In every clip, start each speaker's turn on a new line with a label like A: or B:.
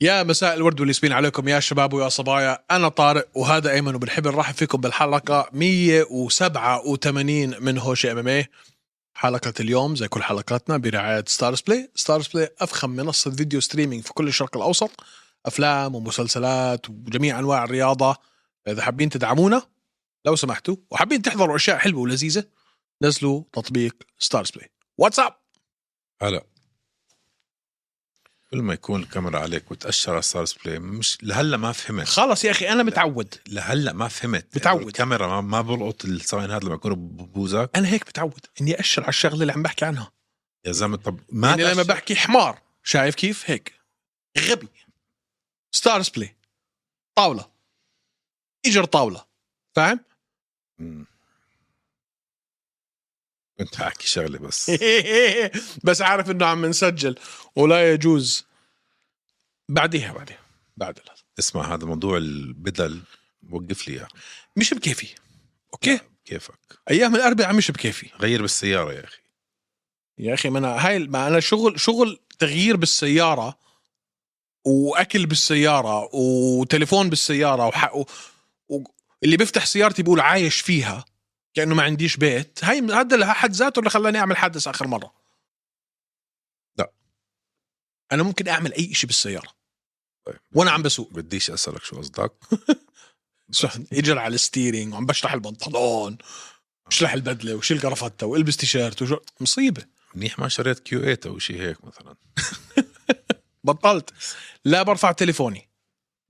A: يا مساء الورد والياسمين عليكم يا شباب ويا صبايا انا طارق وهذا ايمن وبنحب نرحب فيكم بالحلقه 187 من هوشي ام ام اي حلقه إيه. اليوم زي كل حلقاتنا برعايه ستارز بلاي ستارز بلاي افخم منصه فيديو ستريمينج في كل الشرق الاوسط افلام ومسلسلات وجميع انواع الرياضه اذا حابين تدعمونا لو سمحتوا وحابين تحضروا اشياء حلوه ولذيذه نزلوا تطبيق ستارز بلاي واتساب
B: هلا كل ما يكون الكاميرا عليك وتأشر على ستارز بلاي مش لهلا ما فهمت
A: خلص يا اخي انا متعود
B: لهلا ما فهمت يعني
A: بتعود.
B: الكاميرا ما, ما بلقط الساين هذا لما يكون ببوزك
A: انا هيك متعود اني اشر على الشغله اللي عم بحكي عنها
B: يا زلمه طب ما
A: يعني لما
B: تأشر.
A: بحكي حمار شايف كيف هيك غبي ستارز بلاي طاوله اجر طاوله فاهم
B: مم. كنت حاحكي شغله بس
A: بس عارف انه عم نسجل ولا يجوز بعديها بعديها بعد الهذا.
B: اسمع هذا موضوع البدل وقف لي اياه
A: مش بكيفي اوكي
B: نعم. كيفك
A: ايام الاربعاء مش بكيفي
B: غير بالسياره يا اخي
A: يا اخي ما انا هاي ما انا شغل شغل تغيير بالسياره واكل بالسياره وتليفون بالسياره وحق و... و... اللي بيفتح سيارتي بيقول عايش فيها كانه ما عنديش بيت هاي هذا اللي حد ذاته اللي خلاني اعمل حادث اخر مره
B: لا.
A: انا ممكن اعمل اي شيء بالسياره
B: طيب.
A: وانا عم بسوق
B: بديش اسالك شو قصدك
A: اجر على الستيرنج وعم بشلح البنطلون
B: آه.
A: بشلح البدله وشيل قرفته والبس تيشيرت وشو مصيبه
B: منيح ما شريت كيو 8 او شيء هيك مثلا
A: بطلت لا برفع تليفوني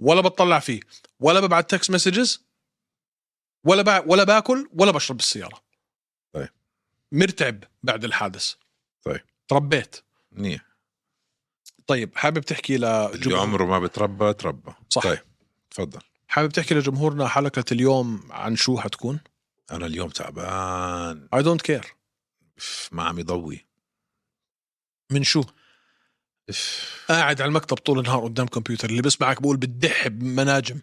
A: ولا بطلع فيه ولا ببعت تكست مسجز ولا بع... ولا باكل ولا بشرب بالسياره
B: طيب.
A: مرتعب بعد الحادث
B: طيب.
A: تربيت
B: منيح
A: طيب حابب تحكي
B: اللي
A: لجمهور
B: عمره ما بتربى تربى
A: صح.
B: طيب تفضل
A: حابب تحكي لجمهورنا حلقه اليوم عن شو حتكون
B: انا اليوم تعبان
A: اي دونت كير
B: اف، ما عم يضوي
A: من شو
B: اف،
A: قاعد على المكتب طول النهار قدام كمبيوتر اللي بسمعك بقول بتدح بمناجم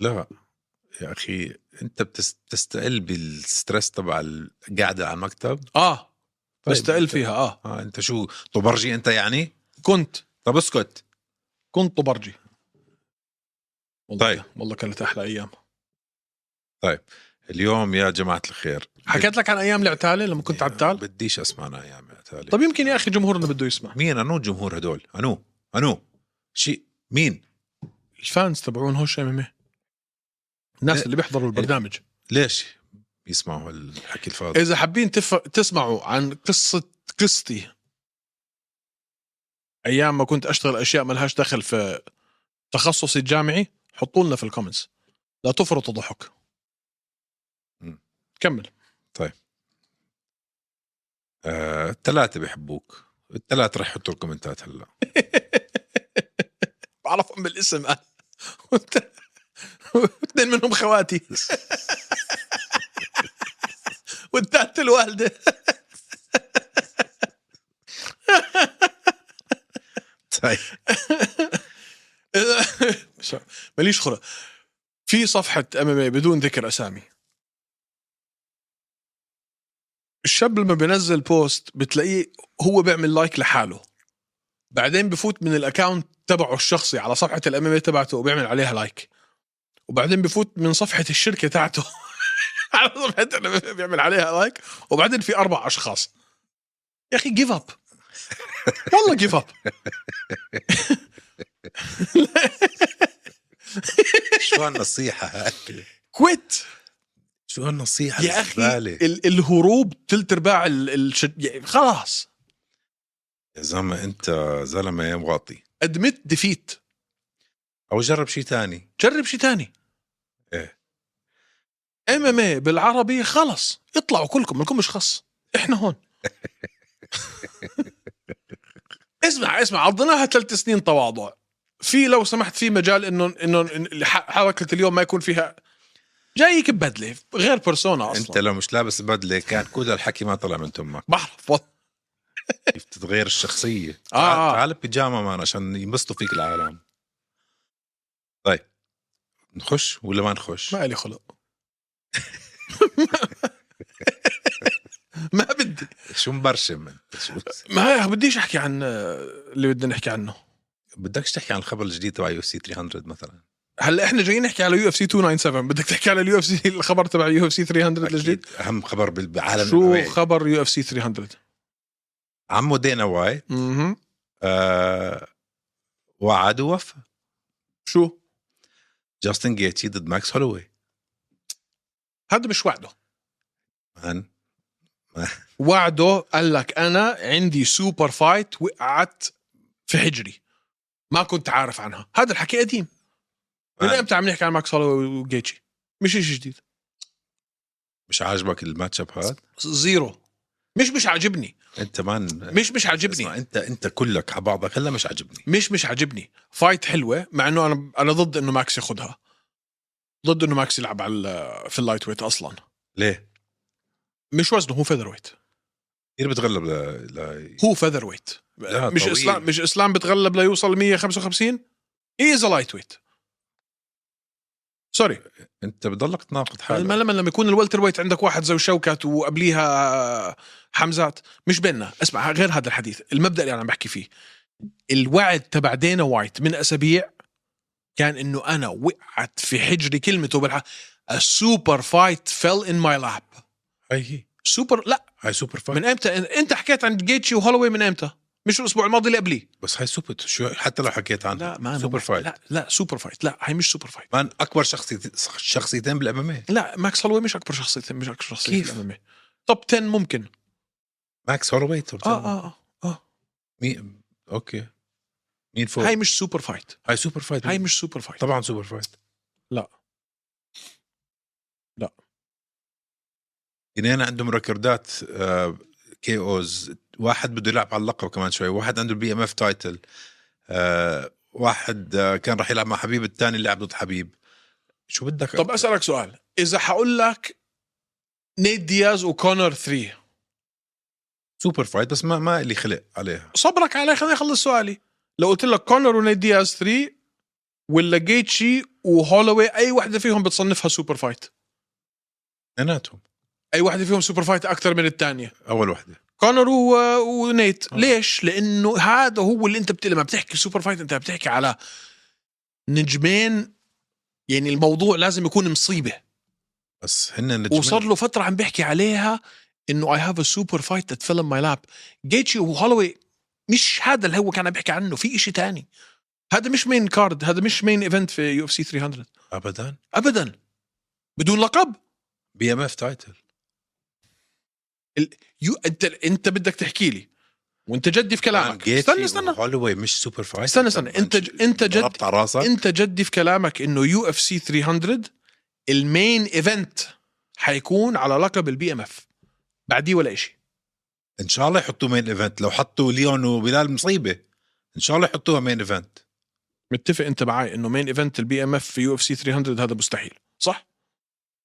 B: لا يا اخي انت بتس- بتستقل بالستريس تبع القعده على المكتب
A: اه
B: طيب،
A: بستقل
B: أنت-
A: فيها اه
B: اه انت شو طبرجي انت يعني
A: كنت
B: طب اسكت
A: كنت برجي والله
B: طيب.
A: والله كانت احلى ايام
B: اليوم يا جماعه الخير
A: حكيت لك عن ايام العتاله لما كنت عتال
B: بديش اسمعنا ايام عتالي
A: طب يمكن يا اخي جمهورنا بده يسمع
B: مين انو الجمهور هدول انو انو شيء مين
A: الفانز تبعون هوش ام ام الناس اللي بيحضروا البرنامج
B: إيه. ليش يسمعوا الحكي الفاضي
A: اذا حابين تف... تسمعوا عن قصه قصتي ايام ما كنت اشتغل اشياء ما لهاش دخل في تخصصي الجامعي حطوا لنا في الكومنتس لا تفرطوا ضحك
B: مم.
A: كمل
B: آه، الثلاثه بيحبوك الثلاثه رح يحطوا الكومنتات هلا
A: بعرفهم بالاسم انا وت- واثنين منهم خواتي والثالث الوالده
B: طيب
A: شو- إيه، ماليش خلق في صفحه امامي إيه بدون ذكر اسامي الشاب لما بينزل بوست بتلاقيه هو بيعمل لايك لحاله بعدين بفوت من الاكاونت تبعه الشخصي على صفحه الامامي إيه تبعته وبيعمل عليها لايك وبعدين بفوت من صفحه الشركه تاعته على صفحه الامامي إيه بيعمل عليها لايك وبعدين في اربع اشخاص يا اخي جيف اب والله جيف اب
B: شو هالنصيحة هاي؟
A: كويت
B: شو هالنصيحة
A: يا اخي ال- الهروب ثلث ارباع ال- الش- يعني خلاص
B: يا زلمة أنت زلمة يا مغاطي
A: ادمت ديفيت
B: أو جرب شيء تاني
A: جرب شيء تاني
B: إيه.
A: ام ام اي بالعربي خلص اطلعوا كلكم منكم مش خص احنا هون اسمع اسمع عضناها ثلاث سنين تواضع في لو سمحت في مجال انه انه إن- ح- حركه اليوم ما يكون فيها جايك ببدله غير بيرسونا اصلا
B: أنت لو مش لابس بدلة كان كل هالحكي ما طلع من تمك
A: بعرف والله.
B: كيف تتغير الشخصية
A: آه، آه.
B: تعال بيجامة مان عشان ينبسطوا فيك العالم طيب نخش ولا ما نخش؟
A: ما لي خلق ما بدي
B: شو مبرشم أنت؟ شو-
A: ما بديش احكي عن آه، اللي بدنا نحكي عنه
B: بدكش تحكي عن الخبر الجديد تبع يو اف سي 300 مثلا
A: هلا احنا جايين نحكي على يو اف سي 297 بدك تحكي على اليو اف سي الخبر تبع يو اف سي 300 الجديد
B: أكيد اهم خبر بال- بالعالم
A: شو
B: الأوروبي.
A: خبر يو اف سي 300
B: عمو دينا واي
A: اها
B: آه وعد ووفى
A: شو
B: جاستن جيتي ضد ماكس هولوي
A: هذا مش وعده
B: مان
A: وعده قال لك انا عندي سوبر فايت وقعت في حجري ما كنت عارف عنها هذا الحكي قديم من
B: مان،
A: امتى عم نحكي عن ماكس هولوي وجيتشي مش شيء جديد
B: مش عاجبك الماتش اب هذا
A: زيرو مش مش عاجبني
B: انت مان
A: مش مش عاجبني
B: اسمع انت انت كلك على بعضك هلا مش عاجبني
A: مش مش عاجبني فايت حلوه مع انه انا انا ضد انه ماكس ياخذها ضد انه ماكس يلعب على ال- في اللايت ويت اصلا
B: ليه؟
A: مش وزنه هو فيذر ويت
B: كثير بتغلب ل... ل...
A: هو فيذر ويت
B: لا،
A: مش
B: طويل.
A: اسلام مش اسلام بتغلب ليوصل 155 از لايت ويت سوري
B: انت بضلك تناقض حالك
A: لما لما لما يكون الولتر ويت عندك واحد زي شوكت وقبليها آه، حمزات مش بيننا اسمع غير هذا الحديث المبدا اللي انا عم بحكي فيه الوعد تبع دينا وايت من اسابيع كان انه انا وقعت في حجري كلمته بالح السوبر فايت فيل ان ماي لاب
B: هاي هي طيب.
A: سوبر لا
B: هاي سوبر فايت
A: من امتى انت حكيت عن جيتشي وهولوي من امتى مش الاسبوع الماضي اللي قبليه
B: بس هاي سوبر شو حتى لو حكيت عنها
A: لا ما
B: سوبر فايت
A: لا لا سوبر فايت لا هي مش سوبر فايت
B: مان اكبر شخصيتين شخصيتين بالاماميه
A: لا ماكس هولوي مش اكبر شخصيتين مش اكبر شخصيه
B: كيف؟
A: في الأمامية. توب 10 ممكن
B: ماكس هولوي
A: اه اه اه
B: مين اوكي مين فوق
A: هاي
B: هاي,
A: مش سوبر فايت
B: هاي سوبر فايت
A: هاي
B: هاي
A: مش سوبر فايت
B: طبعا سوبر فايت
A: لا. لا.
B: اثنين عندهم ريكوردات آه، كي اوز واحد بده يلعب على اللقب كمان شوي واحد عنده البي ام اف تايتل واحد آه، كان راح يلعب مع حبيب الثاني لعب ضد حبيب شو بدك
A: طب اسالك سؤال اذا حقول لك نيت دياز وكونر 3
B: سوبر فايت بس ما ما لي خلق عليها
A: صبرك عليه خليني اخلص سؤالي لو قلت لك كونر ونيت دياز 3 ولا جيتشي وهولوي اي وحده فيهم بتصنفها سوبر فايت
B: اثنيناتهم
A: اي وحده فيهم سوبر فايت اكثر من الثانيه
B: اول وحده
A: كونر و... ونيت
B: آه.
A: ليش لانه هذا هو اللي انت بت... لما بتحكي سوبر فايت انت بتحكي على نجمين يعني الموضوع لازم يكون مصيبه
B: بس هن نجمين.
A: وصار له فتره عم بيحكي عليها انه اي هاف ا سوبر فايت ذات فيل ماي لاب جيتشي وهولوي مش هذا اللي هو كان عم بيحكي عنه في إشي تاني هذا مش مين كارد هذا مش مين ايفنت في يو اف سي 300
B: ابدا
A: ابدا بدون لقب
B: بي ام اف تايتل
A: يو انت انت بدك تحكي لي وانت جدي في
B: آه،
A: كلامك استنى استنى
B: هولوي مش سوبر فايت
A: استنى استنى، أنت ج- أنت جد-
B: ضربت على راسك
A: انت جدي في كلامك انه يو اف سي 300 المين ايفنت حيكون على لقب البي ام اف بعديه ولا إشي
B: ان شاء الله يحطوه مين ايفنت لو حطوا ليون وبلال مصيبه ان شاء الله يحطوها مين ايفنت
A: متفق انت معي انه مين ايفنت البي ام اف في يو اف سي 300 هذا مستحيل صح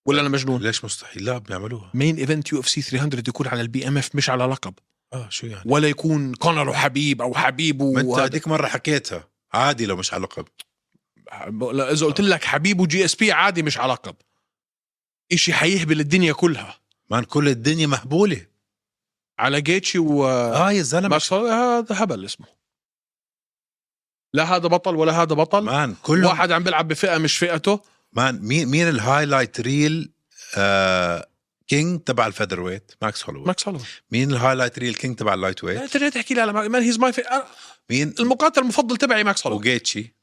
A: ولا انا مجنون
B: ليش مستحيل لا بيعملوها
A: مين ايفنت يو اف سي 300 يكون على البي ام اف مش على لقب
B: اه شو يعني
A: ولا يكون كونر وحبيب او حبيب
B: ما انت
A: وهذا
B: هذيك مره حكيتها عادي لو مش على لقب
A: لا، اذا قلت لك حبيب وجي اس بي عادي مش على لقب اشي حيهبل الدنيا كلها
B: مان كل الدنيا مهبوله
A: على جيتشي و
B: اه يا زلمه
A: ماكس هولوي، هذا هبل اسمه لا هذا بطل ولا هذا بطل
B: مان كل واحد
A: واحد عم بيلعب بفئه مش فئته
B: مان مين مين الهايلايت ريل آه كينج تبع الفيذر ويت ماكس هولوي
A: ماكس هولوي
B: مين الهايلايت ريل كينج تبع اللايت ويت
A: انت جاي تحكي لي على مان هيز ماي
B: مين
A: المقاتل المفضل تبعي ماكس هولوي
B: وجيتشي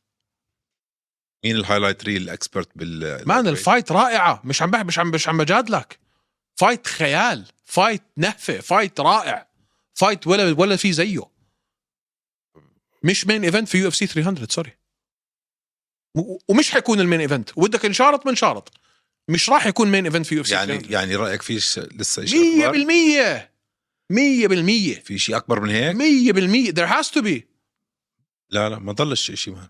B: مين الهايلايت ريل الاكسبرت بال
A: مان الفايت رائعه مش عم بح مش عم مش عم بجادلك فايت خيال فايت نهفه فايت رائع فايت ولا ولا في زيه مش مين ايفنت في يو اف سي 300 سوري و- ومش حيكون المين ايفنت ودك انشارط منشارط مش راح يكون مين ايفنت في يو اف سي
B: يعني يعني رايك في ش- لسه شيء اكبر
A: 100% 100%
B: في شيء اكبر من هيك
A: 100% there has to be
B: لا لا ما ضلش شيء مان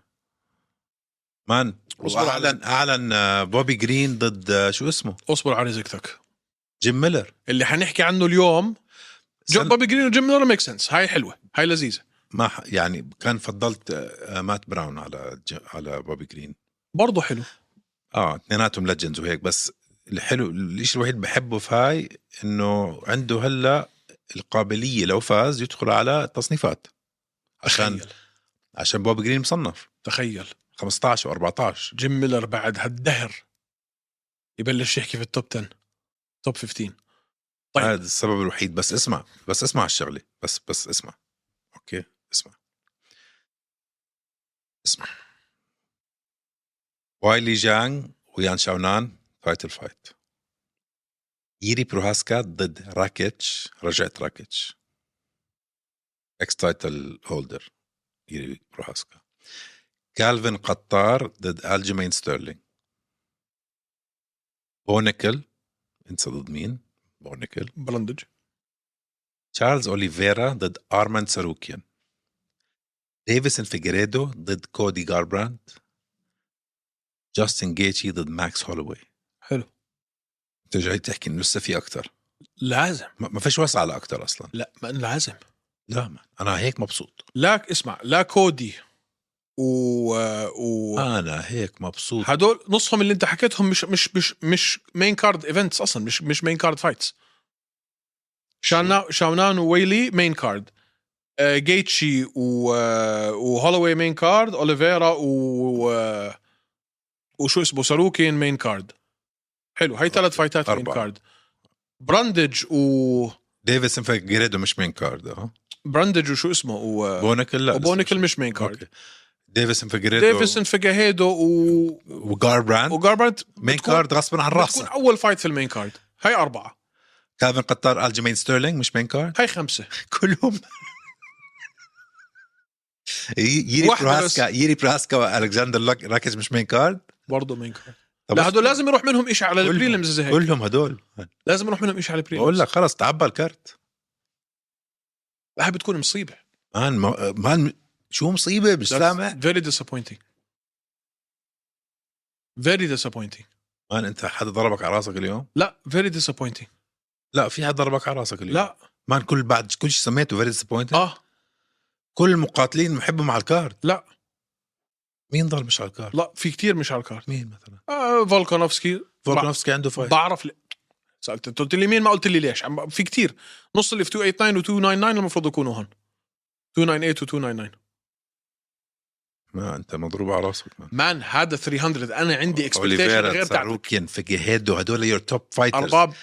B: مان
A: اصبر
B: واعلن اعلن آه، بوبي جرين ضد آه، شو اسمه
A: اصبر على رزقتك
B: جيم ميلر
A: اللي حنحكي عنه اليوم جو
B: سن-
A: بابي جرين وجيم ميلر ميك سنس هاي حلوه هاي لذيذه
B: ما ح- يعني كان فضلت آه، آه، مات براون على ج- على بوبي جرين
A: برضه حلو
B: اه اثنيناتهم ليجندز وهيك بس الحلو الشيء الوحيد اللي بحبه في هاي انه عنده هلا القابليه لو فاز يدخل على التصنيفات عشان
A: تخيل.
B: عشان بوب جرين مصنف
A: تخيل
B: 15 و14
A: جيم ميلر بعد هالدهر يبلش يحكي في التوب 10 توب 15 طيب.
B: هذا السبب الوحيد بس اسمع بس اسمع الشغله بس بس اسمع اوكي اسمع اسمع وايلي جانغ ويان شاونان تايتل فايت ييري بروهاسكا ضد راكيتش رجعت راكيتش اكس تايتل هولدر ييري بروهاسكا كالفين قطار ضد الجيمين ستيرلينج بونيكل انسى ضد مين بونيكل
A: برندج
B: تشارلز اوليفيرا ضد ارماند ساروكيان ديفيسون فيجريدو ضد كودي جاربراند جاستن جيتشي ضد ماكس هولوي
A: حلو
B: انت جاي تحكي انه لسه في اكثر
A: لازم
B: ما ما فيش وسعه لاكثر اصلا
A: لا ما لازم
B: لا ما. انا هيك مبسوط
A: لا اسمع لا كودي و, و...
B: انا هيك مبسوط
A: هدول نصهم اللي انت حكيتهم مش مش مش مش مين كارد ايفنتس اصلا مش مش مين كارد فايتس شاونا شاونان وويلي مين كارد آه، جيتشي و آه، وهولوي مين كارد اوليفيرا و آه، وشو اسمه ساروكين مين كارد حلو هاي ثلاث فايتات مين
B: أربعة.
A: كارد براندج و
B: ديفيسون فيجريدو مش مين كارد اه
A: براندج وشو اسمه و...
B: بونيكل لا لسه
A: وبونيكل مش مين كارد
B: أوكي. ديفيسون فيجريدو
A: ديفيسون فيجاهيدو و
B: وجاربراند
A: وجاربرانت
B: مين
A: بتكون-
B: كارد غصبا عن
A: بتكون
B: راسه
A: اول فايت في المين كارد هاي اربعه
B: كالفن قطار الجيمين ستيرلينج مش مين كارد
A: هاي خمسه
B: كلهم ييري
A: واحدة
B: براسكا ييري براسكا والكسندر لوك- راكيز مش مين كارد
A: برضه مين كارد
B: طب
A: لا هدول لازم يروح منهم شيء على
B: كلهم-
A: البريلمز زي هيك
B: كلهم هدول
A: لازم يروح منهم شيء على البريلمز
B: بقول لك خلص تعبى الكارت
A: لا، هاي بتكون مصيبه
B: مان ما- مان شو مصيبه مش سامع
A: فيري ديسابوينتينج فيري ديسابوينتينج
B: مان انت حدا ضربك على راسك اليوم
A: لا فيري ديسابوينتينج
B: لا في حدا ضربك على راسك اليوم
A: لا
B: مان كل بعد كل شيء سميته فيري ديسابوينتد
A: اه
B: كل المقاتلين محبهم على الكارت
A: لا
B: مين ضل مش على الكارت
A: لا في كتير مش على الكارد
B: مين مثلا
A: آه فولكانوفسكي
B: فولكانوفسكي عنده فايت
A: بعرف لي. سالت انت قلت لي مين ما قلت لي ليش عم- في كتير نص اللي في 289 و 299 المفروض يكونوا هون 298 و 299
B: ما انت مضروب على راسك مان
A: مان هذا 300 انا عندي اكسبكتيشن غير تاعتك
B: ساروكين فيجيهيدو هدول يور توب فايترز
A: ارباب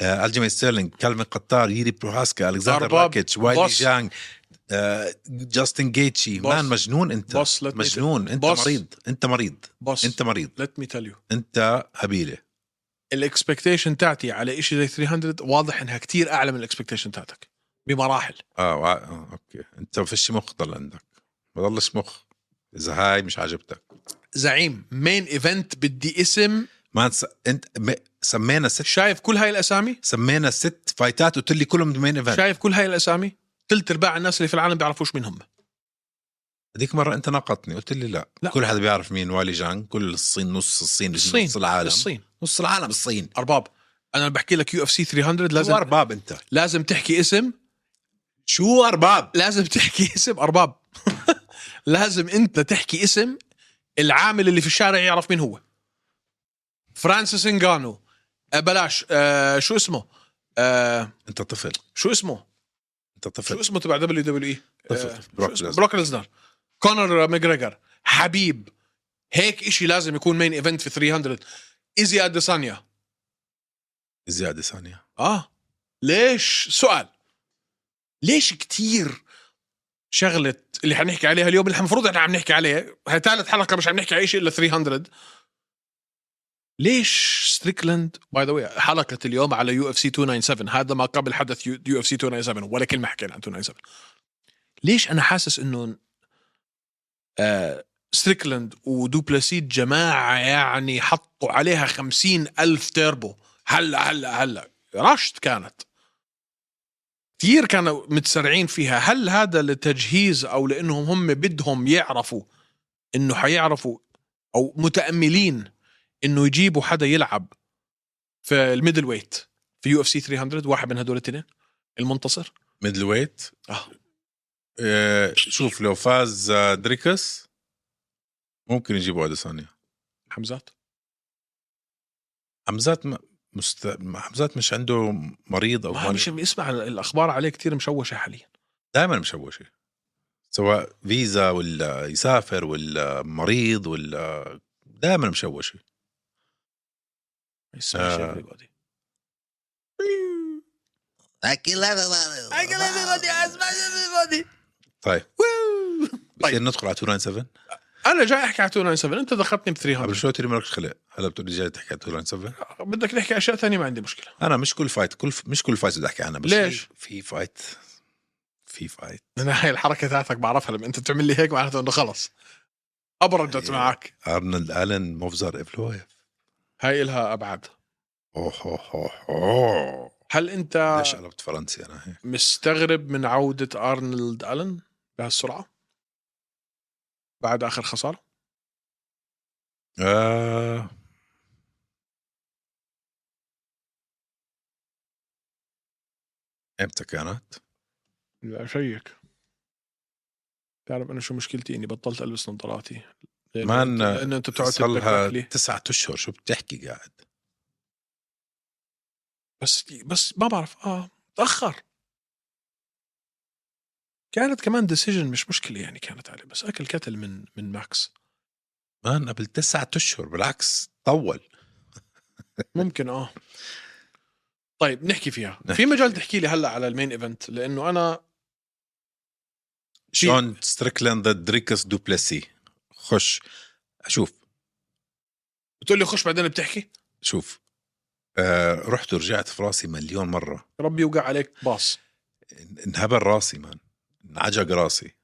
B: آه، الجيمي ستيرلينج كالفين قطار ييري بروهاسكا الكساندر
A: أرباب.
B: راكيتش وايلي
A: بص.
B: جانج آه، جاستن جيتشي
A: بص.
B: مان مجنون انت
A: بص let me-
B: مجنون انت
A: بص.
B: مريض انت مريض
A: بص
B: انت مريض
A: ليت مي تيل يو
B: انت هبيله
A: الاكسبكتيشن تاعتي على شيء زي 300 واضح انها كتير اعلى من الاكسبكتيشن تاعتك بمراحل
B: اه, وع- آه اوكي انت ما فيش مخ ضل عندك ما ضلش مخ اذا هاي مش عجبتك
A: زعيم مين ايفنت بدي اسم
B: ما س... انت م... سمينا ست
A: شايف كل هاي الاسامي
B: سمينا ست فايتات قلت لي كلهم مين ايفنت
A: شايف كل هاي الاسامي ثلث ارباع الناس اللي في العالم بيعرفوش مين هم
B: هذيك مره انت ناقضتني قلت لي لا,
A: لا.
B: لا. كل حدا بيعرف مين والي جانج كل الصين نص الصين
A: الصين.
B: نص العالم
A: الصين
B: نص العالم الصين
A: ارباب انا لما بحكي لك يو اف سي 300
B: لازم شو
A: لازم
B: ارباب انت
A: لازم تحكي اسم
B: شو ارباب
A: لازم تحكي اسم ارباب لازم انت تحكي اسم العامل اللي في الشارع يعرف مين هو فرانسيس انغانو آه، بلاش آه شو اسمه آه
B: انت طفل
A: شو اسمه
B: انت
A: شو
B: طفل
A: اسمه تبع دبليو دبليو اي
B: طفل. بروك ليزنر.
A: بروك ليزنر كونر ماجريجر حبيب هيك إشي لازم يكون مين ايفنت في 300 ايزي اديسانيا
B: زياده ثانيه
A: اه ليش سؤال ليش كتير شغلة اللي حنحكي عليها اليوم اللي المفروض احنا عم نحكي عليها هي ثالث حلقة مش عم نحكي على شيء الا 300 ليش ستريكلاند باي ذا واي حلقة اليوم على يو اف سي 297 هذا ما قبل حدث يو اف سي 297 ولا كلمة حكينا عن 297 ليش انا حاسس انه آه ستريكلاند ودوبلاسيد جماعة يعني حطوا عليها خمسين ألف تيربو هلا هلا هلا رشت كانت كثير كانوا متسرعين فيها هل هذا لتجهيز او لانهم هم بدهم يعرفوا انه حيعرفوا او متاملين انه يجيبوا حدا يلعب في الميدل ويت في يو اف سي 300 واحد من هدول الاثنين المنتصر
B: ميدل ويت
A: آه.
B: اه شوف لو فاز آه، دريكس ممكن يجيبوا اديسانيا
A: حمزات
B: حمزات ما مست... ما- حمزات مش عنده مريض او
A: ما مش
B: مش...
A: اسمع الاخبار عليه كثير مشوشه حاليا
B: دائما مشوشه سواء فيزا ولا يسافر ولا مريض ولا دائما مشوش
A: Smash
B: آه.
A: everybody.
B: طيب
A: Woo! طيب.
B: بصير ندخل على 297
A: انا جاي احكي على 297 انت دخلتني ب
B: قبل
A: 300
B: شوي تري مالكش خلق هلا بتقول لي جاي تحكي على 297
A: بدك نحكي اشياء ثانيه ما عندي مشكله
B: انا مش كل فايت كل مش كل فايت بدي احكي عنها بس
A: ليش؟
B: في- في فايت في فايت
A: انا هاي الحركه تاعتك بعرفها لما انت بتعمل لي هيك معناته انه خلص ابردت
B: إيه.
A: معك
B: ارنولد الن مفزر افلويف
A: هاي إلها ابعاد
B: اوه أوه، أوه، أوه.
A: هل انت
B: ليش قلبت فرنسي انا هيك
A: مستغرب من عوده ارنولد الن بهالسرعه بعد اخر خساره
B: آه. امتى كانت؟
A: لا شيك تعرف انا شو مشكلتي اني بطلت البس نظاراتي
B: مان،
A: لان انت بتقعد
B: صار لها
A: تتذكر لي
B: تسعة اشهر شو بتحكي قاعد؟
A: بس بس ما بعرف اه تاخر كانت كمان ديسيجن مش مشكله يعني كانت عليه بس اكل كتل من من ماكس
B: مان قبل تسعة اشهر بالعكس طول
A: ممكن اه طيب نحكي فيها في مجال تحكي لي هلا على المين ايفنت لانه انا في-
B: شون ستريكلاند ضد ريكس دوبلاسي خش شوف
A: بتقول لي خش بعدين بتحكي
B: شوف آه رحت ورجعت في راسي مليون مرة
A: ربي يوقع عليك باص
B: ان- انهبل راسي مان انعجق راسي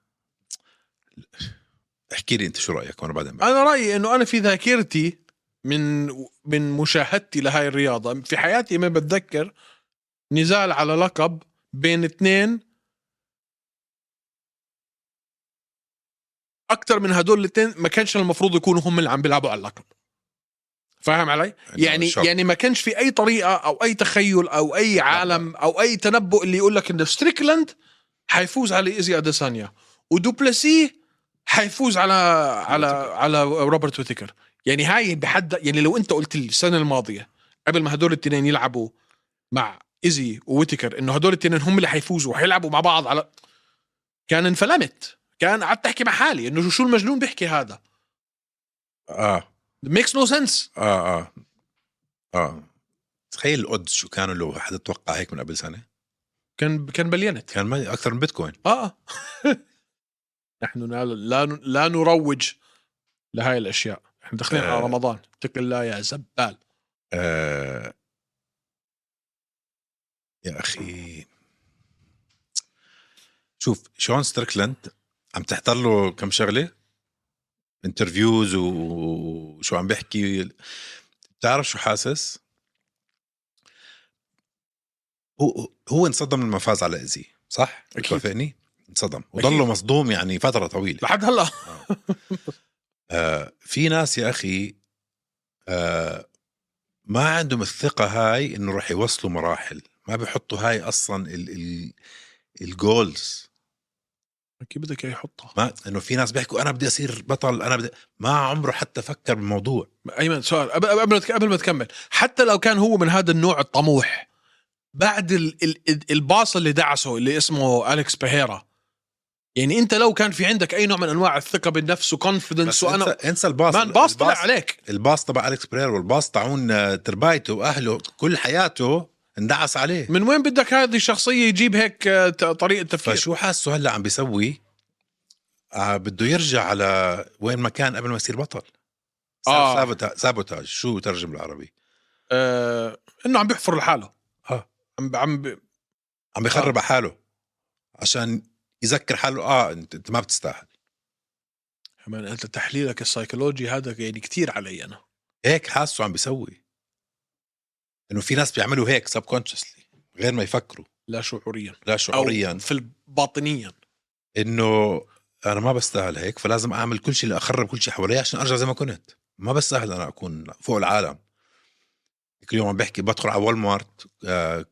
B: احكي لي انت شو رايك وانا بعدين بحكي.
A: انا رايي انه انا في ذاكرتي من من مشاهدتي لهاي الرياضه في حياتي ما بتذكر نزال على لقب بين اثنين اكثر من هدول الاثنين ما كانش المفروض يكونوا هم اللي عم بيلعبوا على اللقب فاهم علي
B: إنه
A: يعني
B: شرط.
A: يعني ما كانش في اي طريقه او اي تخيل او اي عالم او اي تنبؤ اللي يقول لك انه ستريكلاند حيفوز على ايزي اديسانيا ودوبلسي حيفوز على على على روبرت ويتكر يعني هاي بحد يعني لو انت قلت لي السنه الماضيه قبل ما هدول الاثنين يلعبوا مع ايزي وويتكر انه هدول الاثنين هم اللي حيفوزوا وحيلعبوا مع بعض على كان انفلمت كان قعدت احكي مع حالي انه شو- شو المجنون بيحكي هذا
B: اه
A: ميكس نو سنس
B: اه اه اه تخيل الاودز شو كانوا لو حدا توقع هيك من قبل سنه
A: كان كان بلينت
B: كان ما- اكثر من بيتكوين
A: اه نحن لا لا, لا نروج لهاي الاشياء احنا داخلين
B: آه.
A: على رمضان اتق الله يا زبال
B: آه يا اخي شوف شون ستريكلاند عم تحضر له كم شغله انترفيوز و- وشو عم بيحكي بتعرف شو حاسس هو هو انصدم لما فاز على ايزي صح؟
A: أكيد.
B: بتوافقني؟ انصدم وضله
A: أكيد.
B: مصدوم يعني فتره طويله
A: لحد هلا
B: آه، في ناس يا اخي آه، ما عندهم الثقه هاي انه رح يوصلوا مراحل ما بيحطوا هاي اصلا ال ال الجولز
A: كيف بدك اياه يحطها
B: ما انه في ناس بيحكوا انا بدي اصير بطل انا بدي ما عمره حتى فكر بالموضوع
A: ايمن سؤال قبل قبل ما تك- قبل ما تكمل حتى لو كان هو من هذا النوع الطموح بعد ال ال الباص اللي دعسه اللي اسمه اليكس بيهيرا يعني انت لو كان في عندك اي نوع من انواع الثقه بالنفس وكونفدنس
B: بس
A: وانا
B: انسى, انسى الباص
A: مان باص طلع
B: الباص,
A: عليك
B: الباص تبع اليكس برير والباص تاعون آه، تربايته واهله كل حياته اندعس عليه
A: من وين بدك هذه الشخصيه يجيب هيك آه، ت- طريقه تفكير
B: فشو حاسه هلا عم بيسوي آه بده يرجع على وين ما كان قبل ما يصير بطل
A: آه.
B: آه. سابوتاج شو ترجم بالعربي
A: آه انه عم بيحفر لحاله
B: آه.
A: عم ب- عم ب...
B: عم بيخرب على حاله عشان يذكر حاله اه انت, انت ما بتستاهل
A: كمان انت يعني تحليلك السيكولوجي هذا يعني كتير علي انا
B: هيك حاسه عم بيسوي انه في ناس بيعملوا هيك سب كونشسلي غير ما يفكروا
A: لا شعوريا
B: لا شعوريا
A: او في ال- باطنيا
B: انه انا ما بستاهل هيك فلازم اعمل كل شيء لاخرب كل شيء حوالي عشان ارجع زي ما كنت ما بستاهل انا اكون فوق العالم كل يوم عم بحكي بدخل على وول مارت آه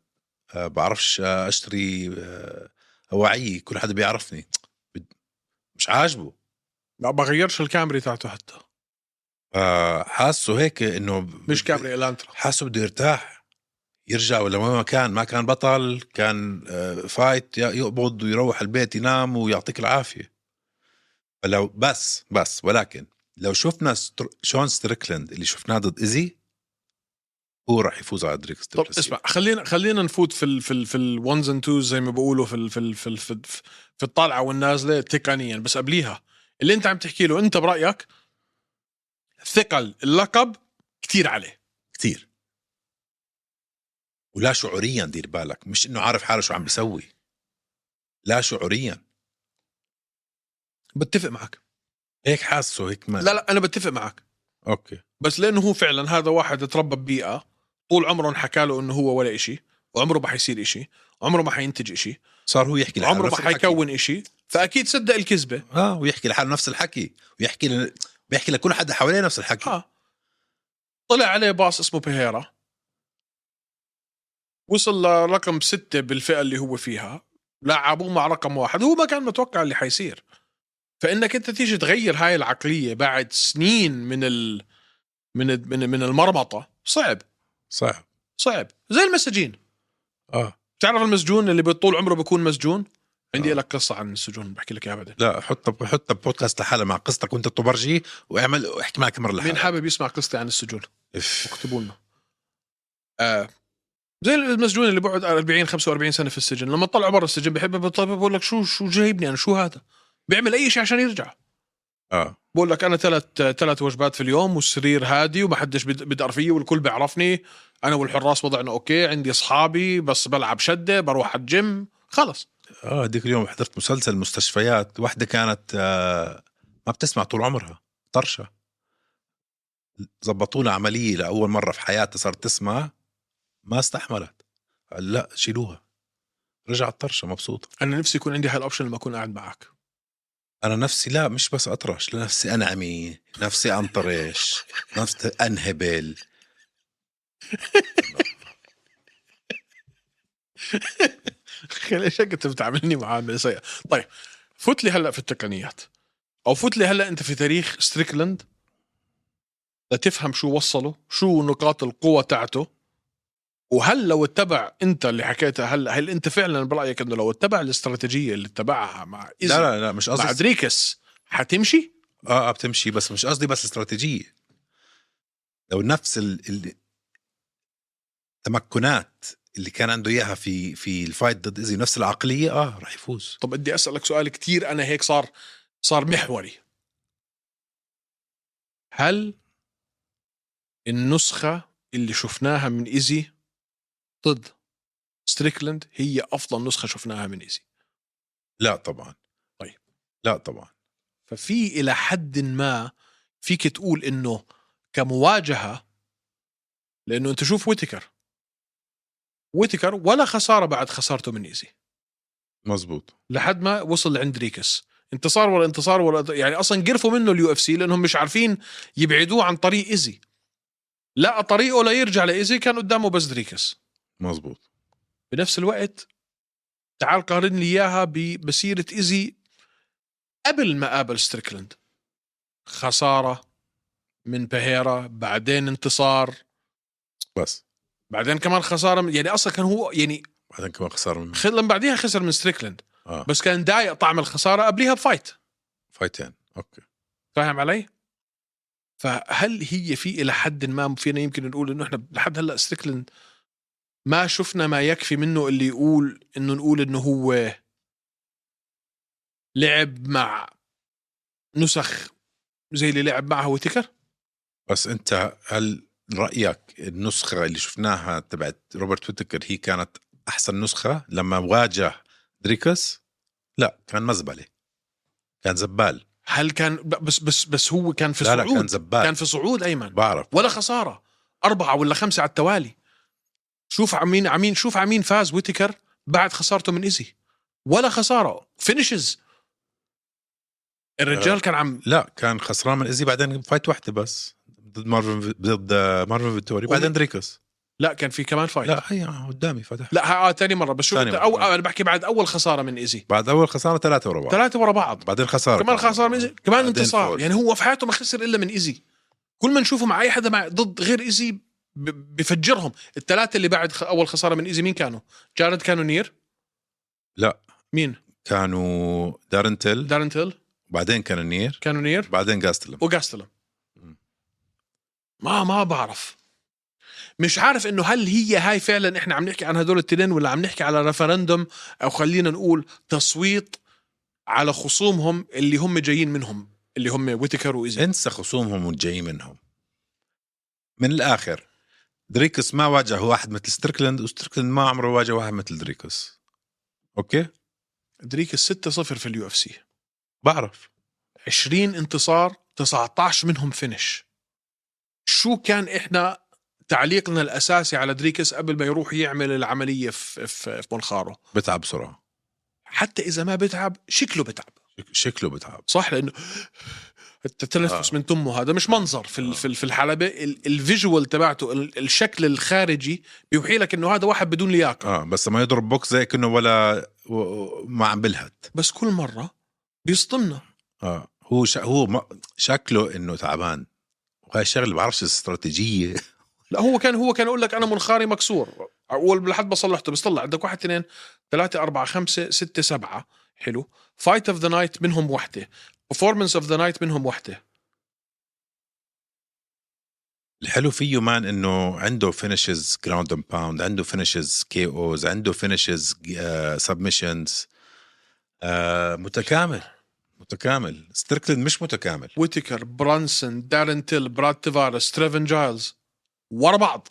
B: آه بعرفش آه اشتري آه اواعي كل حدا بيعرفني بد- مش عاجبه
A: ما بغيرش الكاميرا تاعته حتى
B: آه حاسه هيك انه ب-
A: مش كاميرا الانترا
B: حاسه بده يرتاح يرجع ولا وين ما كان ما كان بطل كان آه، فايت يقبض ويروح البيت ينام ويعطيك العافيه فلو بس بس ولكن لو شفنا ستر... شون ستريكلند اللي شفناه ضد ايزي هو راح يفوز على دريكس
A: طب اسمع خلينا خلينا نفوت في ال في ال في الونز اند توز زي ما بيقولوا في ال في ال في, ال في, ال في الطالعه والنازله تقنيا بس قبليها اللي انت عم تحكي له انت برايك ثقل اللقب كثير عليه
B: كثير ولا شعوريا دير بالك مش انه عارف حاله شو عم بيسوي لا شعوريا
A: بتفق معك
B: هيك حاسه هيك ما
A: لا لا انا بتفق معك
B: اوكي
A: بس لانه هو فعلا هذا واحد تربى ببيئه طول عمره انحكى له انه هو ولا إشي وعمره ما حيصير إشي وعمره ما حينتج إشي
B: صار هو يحكي لحاله
A: وعمره ما
B: نفس الحكي.
A: حيكون إشي فاكيد صدق الكذبه
B: اه ويحكي لحاله نفس الحكي ويحكي ل... بيحكي لكل حدا حواليه نفس الحكي
A: اه طلع عليه باص اسمه بهيرا وصل لرقم ستة بالفئة اللي هو فيها لعبوه مع رقم واحد هو ما كان متوقع اللي حيصير فإنك أنت تيجي تغير هاي العقلية بعد سنين من ال... من ال- من من المرمطة صعب
B: صح
A: صعب زي المساجين
B: اه
A: بتعرف المسجون اللي بطول عمره بيكون مسجون عندي
B: آه.
A: لك قصة عن السجون بحكي لك إياها بعدين
B: لا حط حط بودكاست لحالها مع قصتك وانت الطبرجي واعمل واحكي مع الكاميرا
A: مين
B: لحالها
A: حابب يسمع قصتي عن السجون
B: إف.
A: اكتبوا لنا آه. زي المسجون اللي بقعد 40 45 سنه في السجن لما طلع برا السجن بحب بطلع بقول لك شو شو جايبني انا شو هذا بيعمل اي شيء عشان يرجع
B: اه
A: بقول لك انا ثلاث ثلاث وجبات في اليوم والسرير هادي وما حدش بد- بدقر فيي والكل بيعرفني انا والحراس وضعنا اوكي عندي اصحابي بس بلعب شده بروح على الجيم خلص
B: اه هذيك اليوم حضرت مسلسل مستشفيات واحدة كانت آه ما بتسمع طول عمرها طرشة زبطوا لها عملية لأول مرة في حياتها صارت تسمع ما استحملت قال لا شيلوها رجعت طرشة مبسوطة
A: انا نفسي يكون عندي هالاوبشن لما اكون قاعد معك
B: أنا نفسي لا مش بس أطرش لا نفسي أنعمي نفسي أنطرش نفسي أنهبل
A: اخي ليش هيك انت بتعاملني معامله سيئه؟ طيب فوت لي هلا في التقنيات او فوت لي هلا انت في تاريخ ستريكلاند لتفهم شو وصله، شو نقاط القوة تاعته وهل لو اتبع انت اللي حكيتها هلا هل انت فعلا برايك انه لو اتبع الاستراتيجية اللي اتبعها مع
B: لا
A: إذن
B: لا لا مش
A: مع
B: قصدي
A: دريكس حتمشي؟
B: اه اه بتمشي بس مش قصدي بس استراتيجيه لو نفس ال... ال... التمكنات اللي كان عنده اياها في في الفايت ضد ايزي نفس العقليه اه رح يفوز
A: طب بدي اسالك سؤال كتير انا هيك صار صار محوري هل النسخة اللي شفناها من ايزي ضد ستريكلاند هي افضل نسخة شفناها من ايزي
B: لا طبعا
A: طيب.
B: لا طبعا
A: ففي الى حد ما فيك تقول انه كمواجهة لانه انت شوف ويتكر ويتكر ولا خسارة بعد خسارته من ايزي
B: مزبوط
A: لحد ما وصل لعند ريكس انتصار ولا انتصار ولا يعني اصلا قرفوا منه اليو اف سي لانهم مش عارفين يبعدوه عن طريق ايزي لقى طريقه ليرجع لايزي كان قدامه بس دريكس
B: مزبوط
A: بنفس الوقت تعال قارن لي اياها بمسيره ايزي قبل ما قابل ستريكلند خساره من بهيرا بعدين انتصار
B: بس
A: بعدين كمان خساره من يعني اصلا كان هو يعني
B: بعدين كمان خساره من
A: خ- لما بعديها خسر من ستريكلند
B: اه
A: بس كان ضايق طعم الخساره قبليها بفايت
B: فايتين اوكي
A: فاهم علي؟ فهل هي في الى حد ما فينا يمكن نقول انه احنا لحد هلا ستريكلند ما شفنا ما يكفي منه اللي يقول انه نقول انه هو لعب مع نسخ زي اللي لعب معها ويتكر
B: بس انت هل رايك النسخه اللي شفناها تبعت روبرت ويتكر هي كانت احسن نسخه لما واجه دريكس لا كان مزبله كان زبال
A: هل كان ب- بس بس بس هو كان في
B: لا
A: صعود
B: لا كان زبال
A: كان في صعود ايمن
B: بعرف
A: ولا خساره اربعه ولا خمسه على التوالي شوف عمين عمين شوف عمين فاز ويتكر بعد خسارته من ايزي ولا خساره فينيشز
B: آه.
A: الرجال كان عم
B: لا كان خسران من ايزي بعدين فايت واحده بس ضد مارفن ضد مارفن فيتوري بعدين دريكس
A: لا كان في كمان فايت لا
B: لا هي قدامي فتح
A: لا ها- آه تاني مره بس شوف
B: تاني
A: انت
B: مرة.
A: أو آه، انا بحكي بعد اول خساره من ايزي
B: بعد اول خساره ثلاثه ورا بعض
A: ثلاثه ورا بعض
B: بعدين خساره
A: كمان خساره من ايزي كمان
B: بعدين
A: انتصار
B: فوز.
A: يعني هو في حياته ما خسر الا من ايزي كل ما نشوفه مع اي حدا مع ضد غير ايزي ب- بفجرهم الثلاثه اللي بعد خ- اول خساره من ايزي مين كانوا جارد كانونير
B: لا.
A: مين
B: كانوا دارنتل
A: دارنتل
B: بعدين كانونير
A: كانونير
B: بعدين جاستلم
A: وجاستلم
B: مم.
A: ما ما بعرف مش عارف انه هل هي هاي فعلا احنا عم نحكي عن هدول التنين ولا عم نحكي على رفرندوم او خلينا نقول تصويت على خصومهم اللي هم جايين منهم اللي هم ويتكر وايزي
B: انسى خصومهم والجاي منهم من الاخر دريكس ما واجه واحد مثل ستريكلاند وستريكلاند ما عمره واجه واحد مثل دريكس اوكي
A: دريك 6 0 في اليو اف سي
B: بعرف
A: 20 انتصار 19 منهم فينش شو كان احنا تعليقنا الاساسي على دريكس قبل ما يروح يعمل العمليه في في, في منخاره
B: بتعب بسرعه
A: حتى اذا ما بتعب شكله بتعب
B: شك- شكله بتعب
A: صح لانه التنفس
B: آه.
A: من تمه هذا مش منظر في
B: آه.
A: ال- في ال- في الحلبه ال- الفيجوال تبعته ال- الشكل الخارجي بيوحي لك انه هذا واحد بدون لياقه
B: اه بس لما يضرب بوكس زي كانه ولا و- و- ما عم بلهت
A: بس كل مره بيصطمنا
B: اه هو شا هو ما شكله انه تعبان وهي الشغله بعرفش استراتيجيه
A: لا هو كان هو كان يقول لك انا منخاري مكسور اول لحد ما صلحته بس طلع عندك واحد اثنين ثلاثة أربعة خمسة ستة سبعة حلو فايت اوف ذا نايت منهم وحدة performance اوف ذا نايت منهم وحدة
B: الحلو فيه مان انه عنده فينشز جراوند اند باوند عنده فينشز كي اوز عنده آه، فينشز سبمشنز آه، متكامل متكامل ستريكلند مش متكامل
A: ويتكر برانسون دارن تيل براد تيفارس تريفن جايلز ورا بعض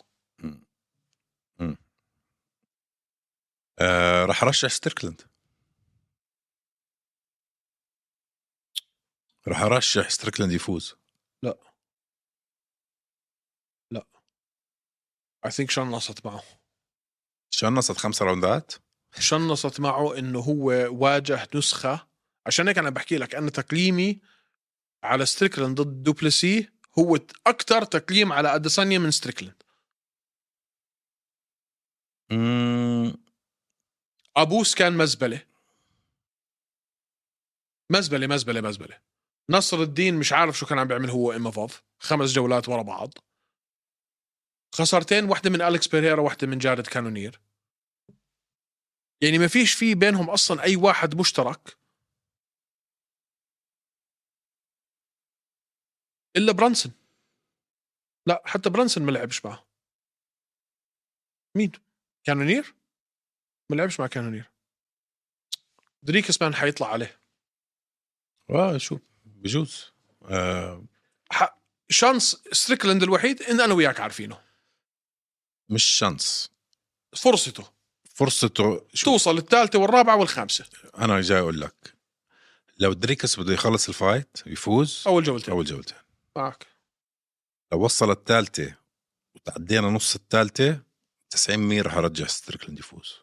B: آه رح رشح ستريكلند رح ارشح ستريكلند يفوز
A: اي ثينك شنصت معه
B: شنصت خمسة راوندات
A: شنصت معه انه هو واجه نسخه عشان هيك انا بحكي لك انا تقييمي على ستريكلاند ضد دوبلسي هو اكثر تقييم على اديسانيا من ستريكلاند
B: مم،
A: ابوس كان مزبله مزبله مزبله مزبله نصر الدين مش عارف شو كان عم بيعمل هو امافوف خمس جولات ورا بعض خسارتين واحده من اليكس بيريرا واحده من جارد كانونير يعني ما فيش في بينهم اصلا اي واحد مشترك الا برانسون لا حتى برانسون ما لعبش معه مين كانونير ما لعبش مع كانونير دريكس مان حيطلع عليه
B: اه شوف بجوز آه
A: ح- شانس ستريكلاند الوحيد ان انا وياك عارفينه
B: مش شانس
A: فرصته
B: فرصته شو
A: توصل الثالثه والرابعه والخامسه
B: انا جاي اقول لك لو دريكس بده يخلص الفايت يفوز
A: اول جولتين
B: اول جولتين
A: معك
B: لو وصل الثالثه وتعدينا نص الثالثه 90 ميل رح ارجع ستريكلاند يفوز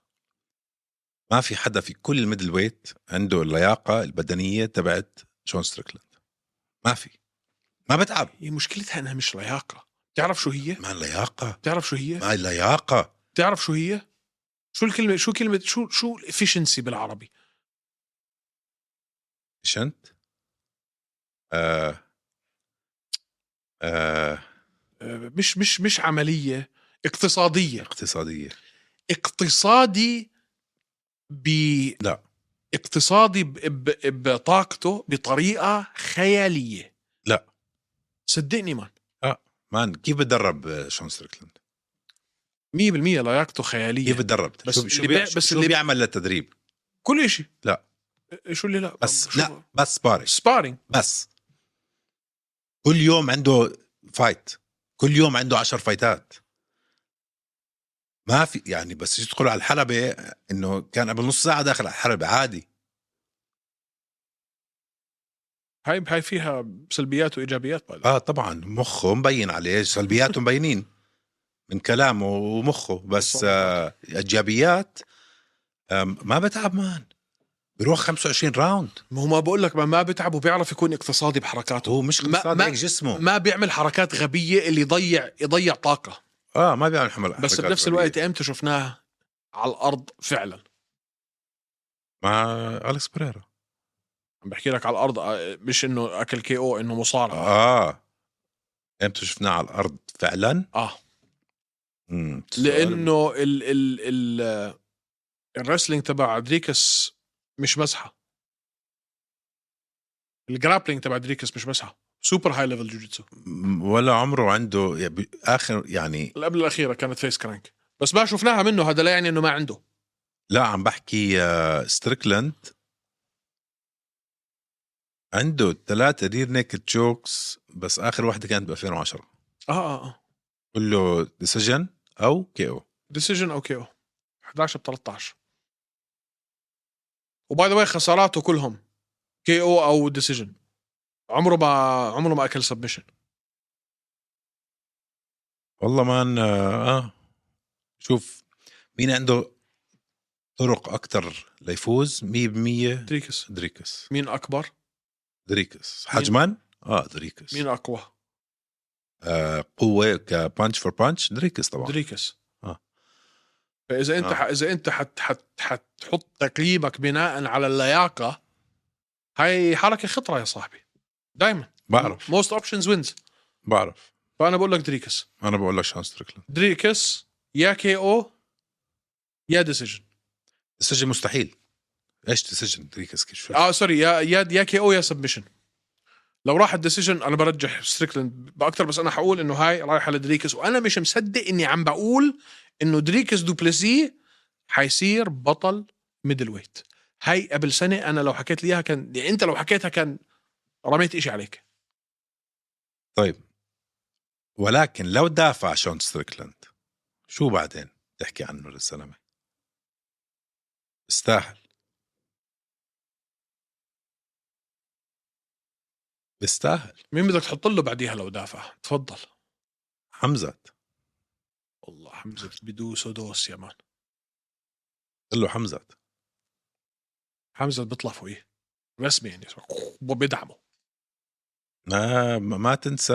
B: ما في حدا في كل الميدل ويت عنده اللياقه البدنيه تبعت جون ستريكلاند ما في ما بتعب
A: هي مشكلتها انها مش لياقه تعرف شو هي
B: ما اللياقه
A: تعرف شو هي
B: ما اللياقه
A: تعرف شو هي شو الكلمه شو كلمه شو شو الافشنسي بالعربي
B: شنت آه آه
A: آه، مش مش مش عمليه اقتصاديه
B: اقتصاديه
A: اقتصادي ب
B: لا.
A: اقتصادي ب... ب... بطاقته بطريقه خياليه
B: لا.
A: صدقني مان
B: مان كيف بدرب شون ستريكلاند
A: 100% لياقته خياليه
B: كيف بدرب
A: بس
B: شو, شو,
A: اللي
B: بي...
A: بي- بس
B: شو
A: اللي-
B: بيعمل للتدريب
A: كل شيء
B: لا.
A: شو اللي لا
B: بس
A: شو-
B: لا بس سبارش
A: سبارينج
B: بس كل يوم عنده فايت كل يوم عنده عشر فايتات ما في يعني بس يدخلوا على الحلبة انه كان قبل نص ساعة داخل على الحلبة عادي
A: هاي هاي فيها سلبيات وايجابيات بعد
B: اه طبعا مخه مبين عليه سلبياته مبينين من كلامه ومخه بس آه ايجابيات آه ما بتعب مان بيروح 25 راوند
A: ما هو ما بقول لك ما, ما بتعب وبيعرف يكون اقتصادي بحركاته
B: هو مش
A: ما-
B: اقتصاد
A: ما-
B: هيك جسمه
A: ما بيعمل حركات غبيه اللي يضيع يضيع طاقه
B: اه ما بيعمل حمل
A: بس
B: حركات
A: بنفس
B: غبية.
A: الوقت امتى شفناها على الارض فعلا
B: مع اليكس بريرا
A: عم بحكي لك على الارض آه، مش انه اكل كي او انه مصارعه اه,
B: اه امتى شفناه على الارض فعلا؟
A: آه.
B: مم.
A: لانه ال ال ال آه، الرسلينج تبع دريكس مش مزحه الجرابلينج تبع دريكس مش مسحه سوبر هاي ليفل جوجيتسو
B: ولا عمره عنده يعني ب- اخر يعني
A: اللي قبل الاخيره كانت فيس كرانك بس ما شفناها منه هذا لا يعني انه ما عنده
B: لا عم بحكي آه، ستريكلاند عنده ثلاثة رير نيكد تشوكس بس اخر واحدة كانت ب 2010
A: اه اه اه
B: كله ديسيجن او كي او
A: ديسيجن او كي او 11 ب 13 وباي ذا واي خساراته كلهم كي او او ديسيجن عمره ما عمره ما اكل سبمشن
B: والله مان آه, اه شوف مين عنده طرق اكثر ليفوز 100%
A: دريكس
B: دريكس
A: مين اكبر
B: دريكس حجما اه دريكس
A: مين اقوى
B: آه قوة كبانش فور بانش دريكس طبعا
A: دريكس
B: آه.
A: فاذا انت
B: آه.
A: آه. اذا انت حت حت حتحط تقييمك بناء على اللياقه هاي حركه خطره يا صاحبي دائما
B: بعرف
A: موست اوبشنز وينز
B: بعرف
A: فانا بقول لك دريكس
B: انا بقول لك شان ستريكلاند
A: دريكس يا كي او يا ديسيجن
B: السجن مستحيل ايش تسجن دريكس كيف شو
A: اه سوري يا يا يا كي او يا سبمشن لو راح الديسيجن انا برجح ستريكلاند باكثر بس انا حقول انه هاي رايحه لدريكس وانا مش مصدق اني عم بقول انه دريكس دوبلسي حيصير بطل ميدل ويت هاي قبل سنه انا لو حكيت لي اياها كان يعني انت لو حكيتها كان رميت إشي عليك
B: طيب ولكن لو دافع شون ستريكلاند شو بعدين تحكي عنه للزلمه بيستاهل بيستاهل
A: مين بدك تحط له بعديها لو دافع تفضل
B: حمزه
A: والله حمزه بدوس ودوس يا مان
B: قل له حمزه
A: حمزه بيطلع فوقيه رسمي يعني بدعمه
B: ما ما تنسى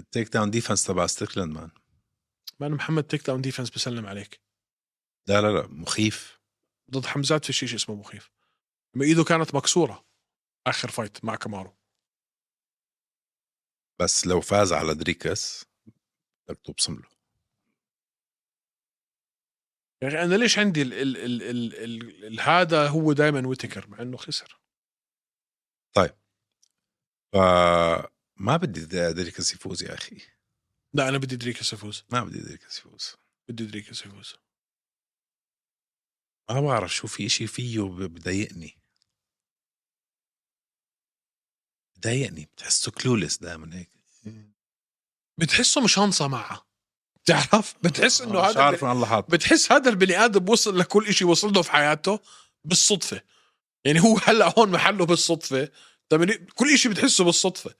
B: التيك داون ديفنس تبع ستريكلاند مان
A: مان محمد تيك داون ديفنس بسلم عليك
B: لا لا لا مخيف
A: ضد حمزات في شيء اسمه مخيف لما ايده كانت مكسوره اخر فايت مع كامارو
B: بس لو فاز على دريكس بدك تبصم له
A: يا اخي انا ليش عندي ال ال ال ال ال ال هذا هو دائما ويتكر مع انه خسر
B: فما بدي دريكس يفوز يا اخي
A: لا انا بدي دريكس يفوز
B: ما بدي دريكس يفوز
A: بدي دريكس يفوز
B: ما بعرف شو في اشي فيه ب- بضايقني بضايقني بتحسه كلولس دائما هيك
A: بتحسه مش هنصه معه بتعرف بتحس انه
B: آه، مش
A: هذا
B: عارف
A: الب-
B: وين الله حاط
A: بتحس هذا البني ادم وصل لكل شيء وصل له في حياته بالصدفه يعني هو هلا هون محله بالصدفه تمام كل شيء بتحسه بالصدفه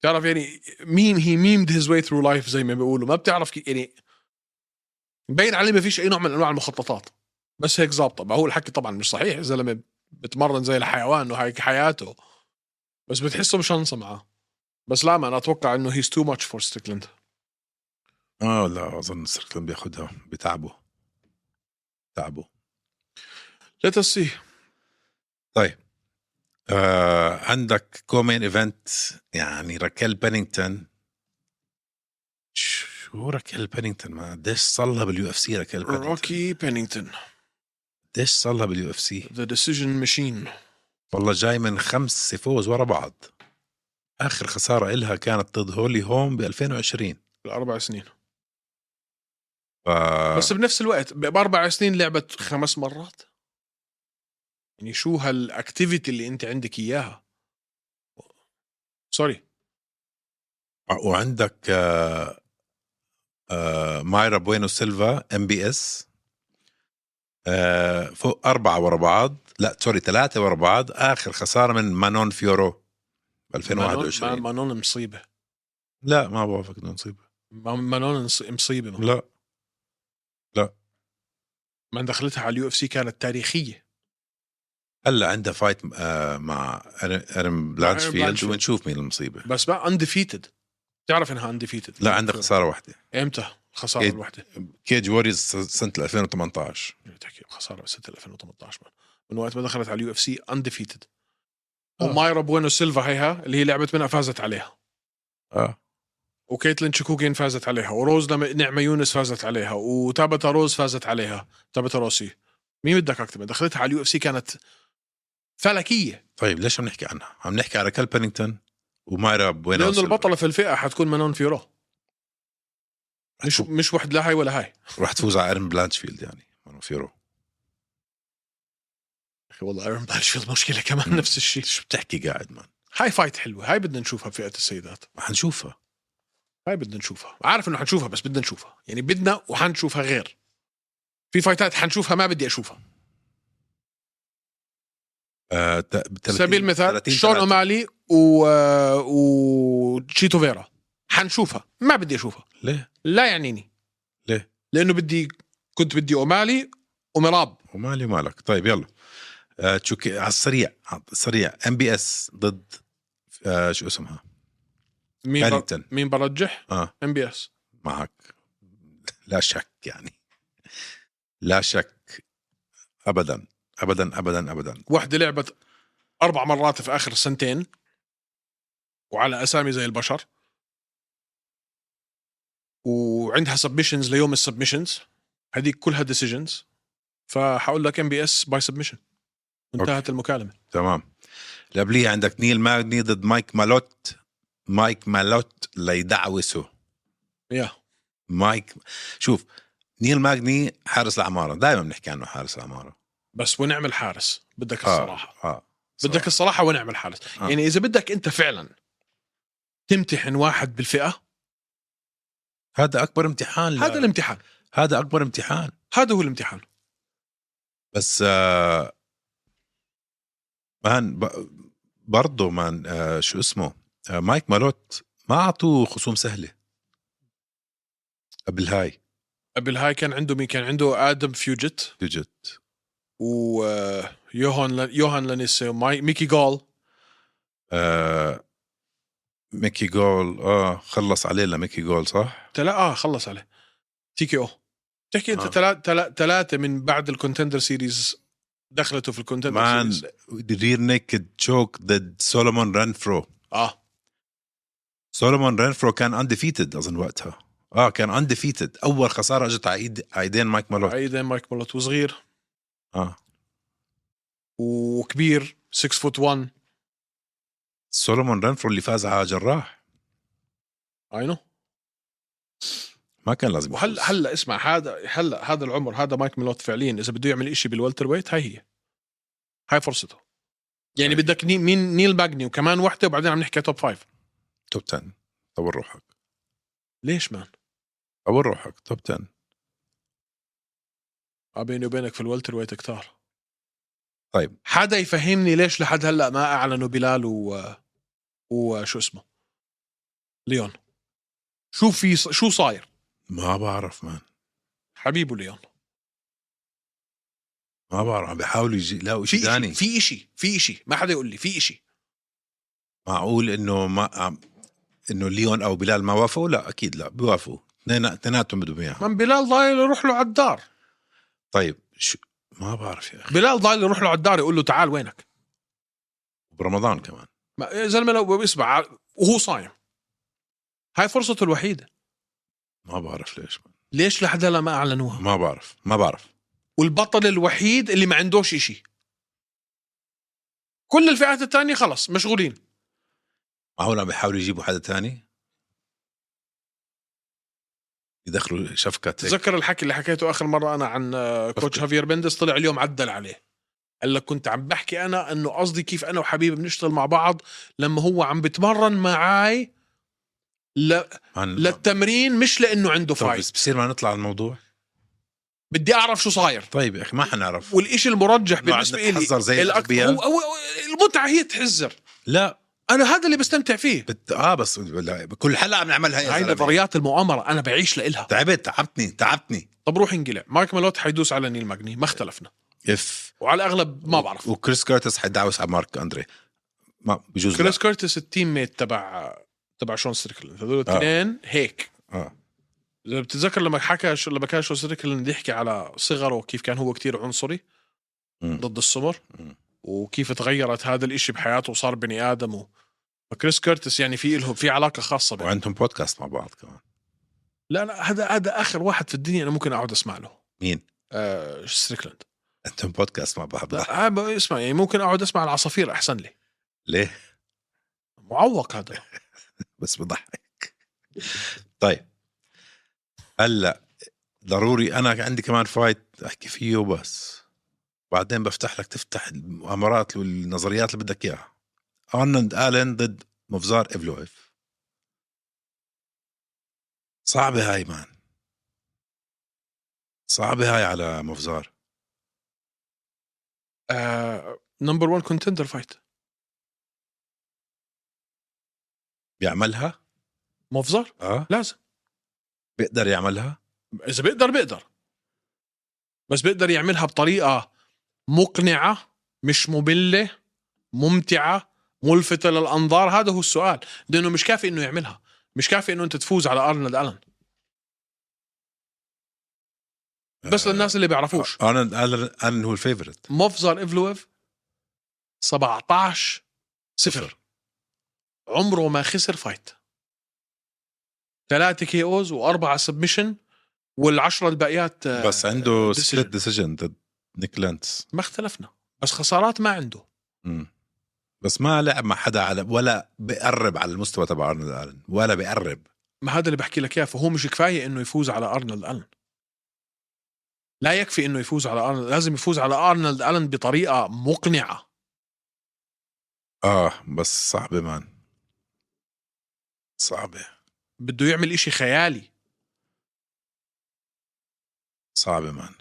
A: بتعرف يعني ميم هي ميمد هيز واي ثرو لايف زي ما بيقولوا ما بتعرف كيف يعني مبين عليه ما فيش اي نوع من انواع المخططات بس هيك ظابطه ما هو الحكي طبعا مش صحيح زلمه بتمرن زي الحيوان وهيك حياته بس بتحسه مش هنصه معاه بس لا ما انا اتوقع انه هيز تو ماتش فور ستيكلند
B: اه لا اظن ستريكلاند بياخدها بتعبه تعبه
A: ليت اس سي
B: آه عندك كومين ايفنت يعني راكيل بانينغتون شو راكيل بانينغتون ما قديش صار لها باليو اف سي راكيل بانينغتون
A: روكي بينينغتون
B: قديش صار لها باليو اف سي
A: ذا ديسيجن ماشين
B: والله جاي من خمس فوز ورا بعض اخر خساره إلها كانت ضد هولي هوم ب 2020
A: الاربع سنين
B: ف...
A: بس بنفس الوقت ب- باربع سنين لعبت خمس مرات يعني شو هالاكتيفيتي اللي انت عندك اياها سوري
B: وعندك آه، آه، مايرا بوينو سيلفا ام بي اس آه، فوق أربعة ورا بعض لا سوري ثلاثة ورا بعض آخر خسارة من مانون فيورو ب 2021
A: مانون- مانون مصيبه
B: لا ما بوافق إنه نصيبة
A: ما- مانون مص- مصيبه ما.
B: لا
A: من دخلتها على اليو اف سي كانت تاريخيه
B: هلا عندها فايت آه، مع أر- ارم بلانشفيلد
A: بلانشفيلد.
B: ونشوف مين المصيبة
A: بس ما انديفيتد تعرف انها انديفيتد
B: لا عندها خسارة واحدة
A: امتى الخساره
B: إيه.
A: الوحده
B: كيج ووريز سنة 2018
A: إيه، تحكي خساره بس 2018 من. من وقت ما دخلت على اليو اف سي انديفيتد
B: آه.
A: ومايرا بوينو سيلفا هيها اللي هي لعبت منها فازت عليها
B: اه
A: وكيتلين تشيكوجين فازت عليها وروز لما نعمة يونس فازت عليها وتابتا روز فازت عليها تابتا روسي مين بدك اكتب دخلتها على اليو اف سي كانت فلكيه
B: طيب ليش عم نحكي عنها؟ عم نحكي على كال بنينغتون ومايرا بوين
A: لانه البطله في الفئه حتكون مانون فيورا مش مش وحد لا هاي ولا هاي
B: رح تفوز على ايرن بلانشفيلد يعني مانو فيرو
A: اخي والله ايرن بلاشفيلد مشكله كمان نفس الشيء
B: شو بتحكي قاعد مان؟
A: هاي فايت حلوه هاي بدنا نشوفها بفئه السيدات
B: ما حنشوفها
A: هاي بدنا نشوفها عارف انه حنشوفها بس بدنا نشوفها يعني بدنا وحنشوفها غير في فايتات حنشوفها ما بدي اشوفها
B: آه ت- بتلاتين-
A: سبيل المثال
B: تلاتين-
A: شون
B: تلاتين.
A: اومالي و آه، وتشيتو فيرا حنشوفها ما بدي اشوفها
B: ليه؟
A: لا يعنيني
B: ليه؟
A: لانه بدي كنت بدي اومالي ومراب
B: ومالي مالك طيب يلا آه تشوكي على السريع على السريع ام بي اس ضد آه شو اسمها؟
A: مين بر...
B: بنينغتون
A: مين برجح؟
B: اه
A: ام بي اس
B: معك لا شك يعني لا شك ابدا ابدا ابدا ابدا
A: وحده لعبت اربع مرات في اخر سنتين وعلى اسامي زي البشر وعندها سبمشنز ليوم السبمشنز هذيك كلها ديسيجنز فحقول لك ام بي اس باي سبمشن انتهت أوكي. المكالمه
B: تمام اللي قبليها عندك نيل ماغني ضد مايك مالوت مايك مالوت ليدعوسه
A: يا
B: مايك شوف نيل ماغني حارس العماره دائما بنحكي عنه حارس العماره
A: بس ونعمل حارس بدك الصراحه
B: اه
A: بدك الصراحه ونعمل حارس
B: آه.
A: يعني اذا بدك انت فعلا تمتحن واحد بالفئه
B: هذا اكبر امتحان
A: هذا
B: هذا
A: الامتحان
B: هذا اكبر امتحان
A: هذا هو الامتحان
B: بس آه مان ب- برضه مان آه شو اسمه آه مايك مالوت ما اعطوه خصوم سهله قبل هاي
A: قبل هاي كان عنده مين كان عنده ادم فيوجيت
B: ديجيت
A: ويوهان لان... يوهان لانيسي وماي ميكي جول
B: آه ميكي جول اه خلص عليه لميكي جول صح؟
A: تلا اه خلص عليه تي كي او تحكي انت
B: آه.
A: ثلاثة تلا... ثلاثة من بعد الكونتندر سيريز دخلته في الكونتندر
B: مان.
A: سيريز
B: رير نيكد تشوك ضد سولومون رانفرو
A: اه
B: سولومون رانفرو كان انديفيتد اظن وقتها اه كان انديفيتد اول خساره اجت على ايد على ايدين مايك مالوت
A: عيدين مايك مولوت وصغير
B: اه
A: وكبير 6 فوت 1
B: سولومون رانفرو اللي فاز على جراح
A: اي نو
B: ما كان لازم
A: وهلا
B: يفوز.
A: هلا اسمع هذا هلا هذا العمر هذا مايك ميلوت فعليا اذا بده يعمل إشي بالولتر ويت هاي هي هاي فرصته يعني
B: هاي.
A: بدك ني... مين نيل باجني وكمان وحده وبعدين عم نحكي توب فايف
B: توب 10 طور روحك
A: ليش مان؟
B: طور روحك توب 10
A: آه بيني وبينك في الولتر ويت كتار
B: طيب.
A: حدا يفهمني ليش لحد هلا ما اعلنوا بلال و وشو اسمه ليون شو في شو صاير
B: ما بعرف مان
A: حبيبه ليون
B: ما بعرف عم بيحاولوا يجي- يلاقوا شيء
A: في إشي
B: ثاني
A: في إشي في إشي ما حدا يقول لي في إشي
B: معقول انه ما عم- انه ليون او بلال ما وافقوا لا اكيد لا بيوافقوا اثنين- اثنيناتهم بدهم اياها
A: من بلال ضايل يروح له على الدار
B: طيب شو ما بعرف يا اخي
A: بلال ضايل يروح له على الدار يقول له تعال وينك
B: برمضان كمان
A: ما يا زلمه لو اسمع وهو صايم هاي فرصته الوحيده
B: ما بعرف ليش مان.
A: ليش لحد هلا ما اعلنوها
B: ما بعرف ما بعرف
A: والبطل الوحيد اللي ما عندوش إشي كل الفئات الثانية خلص مشغولين
B: معقول عم بيحاولوا يجيبوا حدا تاني يدخلوا شفكة هيك
A: تذكر الحكي اللي حكيته آخر مرة أنا عن آه، كوتش هافير بندس طلع اليوم عدل عليه قال لك كنت عم بحكي أنا أنه قصدي كيف أنا وحبيبي بنشتغل مع بعض لما هو عم بتمرن معاي
B: نعم.
A: ل...
B: عن
A: للتمرين مش لأنه عنده
B: طب
A: فايز
B: بس بصير ما نطلع عن الموضوع
A: بدي أعرف شو صاير
B: طيب يا اخي ما حنعرف
A: والإشي المرجح
B: إنه
A: بالنسبة
B: عم نتحذر زي
A: لي الأكثر
B: الأغبياء.
A: هو هو- هو- المتعة هي تحزر
B: لا
A: أنا هذا اللي بستمتع فيه
B: بت... اه بس لا. كل حلقه عم نعملها يا
A: هاي
B: زلمة.
A: نظريات المؤامرة أنا بعيش لإلها
B: تعبت تعبتني تعبتني
A: طب روح انقلع مايك مالوت حيدوس على نيل ماجني ما اختلفنا
B: اف
A: وعلى الاغلب ما بعرف
B: وكريس كارتس حيدعوس على مارك اندري ما بجوز
A: كريس كورتس التيم ميت تبع تبع شون ستريكلاند هذول الاثنين هيك
B: لا. آه.
A: إذا بتتذكر لما حكى شو- لما كان شون ستريكلاند يحكي على صغره كيف كان هو كتير عنصري
B: مم.
A: ضد السمر
B: مم.
A: وكيف تغيرت هذا الاشي بحياته وصار بني ادم و... فكريس كورتس يعني في لهم في علاقه خاصه بينهم
B: وعندهم بودكاست مع بعض كمان
A: لا لا هذا هذا اخر واحد في الدنيا انا ممكن اقعد اسمع له
B: مين؟
A: آه ستريكلاند
B: انتم بودكاست مع بعض
A: لا عيب- اسمع يعني ممكن اقعد اسمع العصافير احسن لي
B: ليه
A: معوق هذا
B: بس بضحك طيب هلا ضروري انا عندي كمان فايت احكي فيه وبس بعدين بفتح لك تفتح المؤامرات والنظريات اللي بدك اياها ارنولد الين ضد مفزار ايفلويف صعبة هاي مان صعبة هاي على مفزار
A: آه، نمبر 1 كونتندر فايت
B: بيعملها
A: مفزر
B: اه
A: لازم
B: بيقدر يعملها
A: اذا بيقدر بيقدر بس بيقدر يعملها بطريقه مقنعه مش ممله ممتعه ملفته للانظار هذا هو السؤال لانه مش كافي انه يعملها مش كافي انه انت تفوز على ارنولد الن بس للناس اللي بيعرفوش
B: ارنولد الين هو الفيفورت
A: مفزر ايفلويف 17 صفر عمره ما خسر فايت ثلاثة كي اوز واربعة سبمشن والعشرة الباقيات آه،
B: بس عنده
A: decision.
B: سبليت ديسيجن ضد نيك لانتس
A: ما اختلفنا بس خسارات ما عنده
B: مم. بس ما لعب مع حدا على ولا بقرب على المستوى تبع ارنولد الين ولا بقرب
A: ما هذا اللي بحكي لك اياه فهو مش كفايه انه يفوز على ارنولد الن لا يكفي انه يفوز على ارنولد لازم يفوز على ارنولد الن بطريقه مقنعه
B: اه بس صعبه مان صعبه
A: بده يعمل إشي خيالي
B: صعبه مان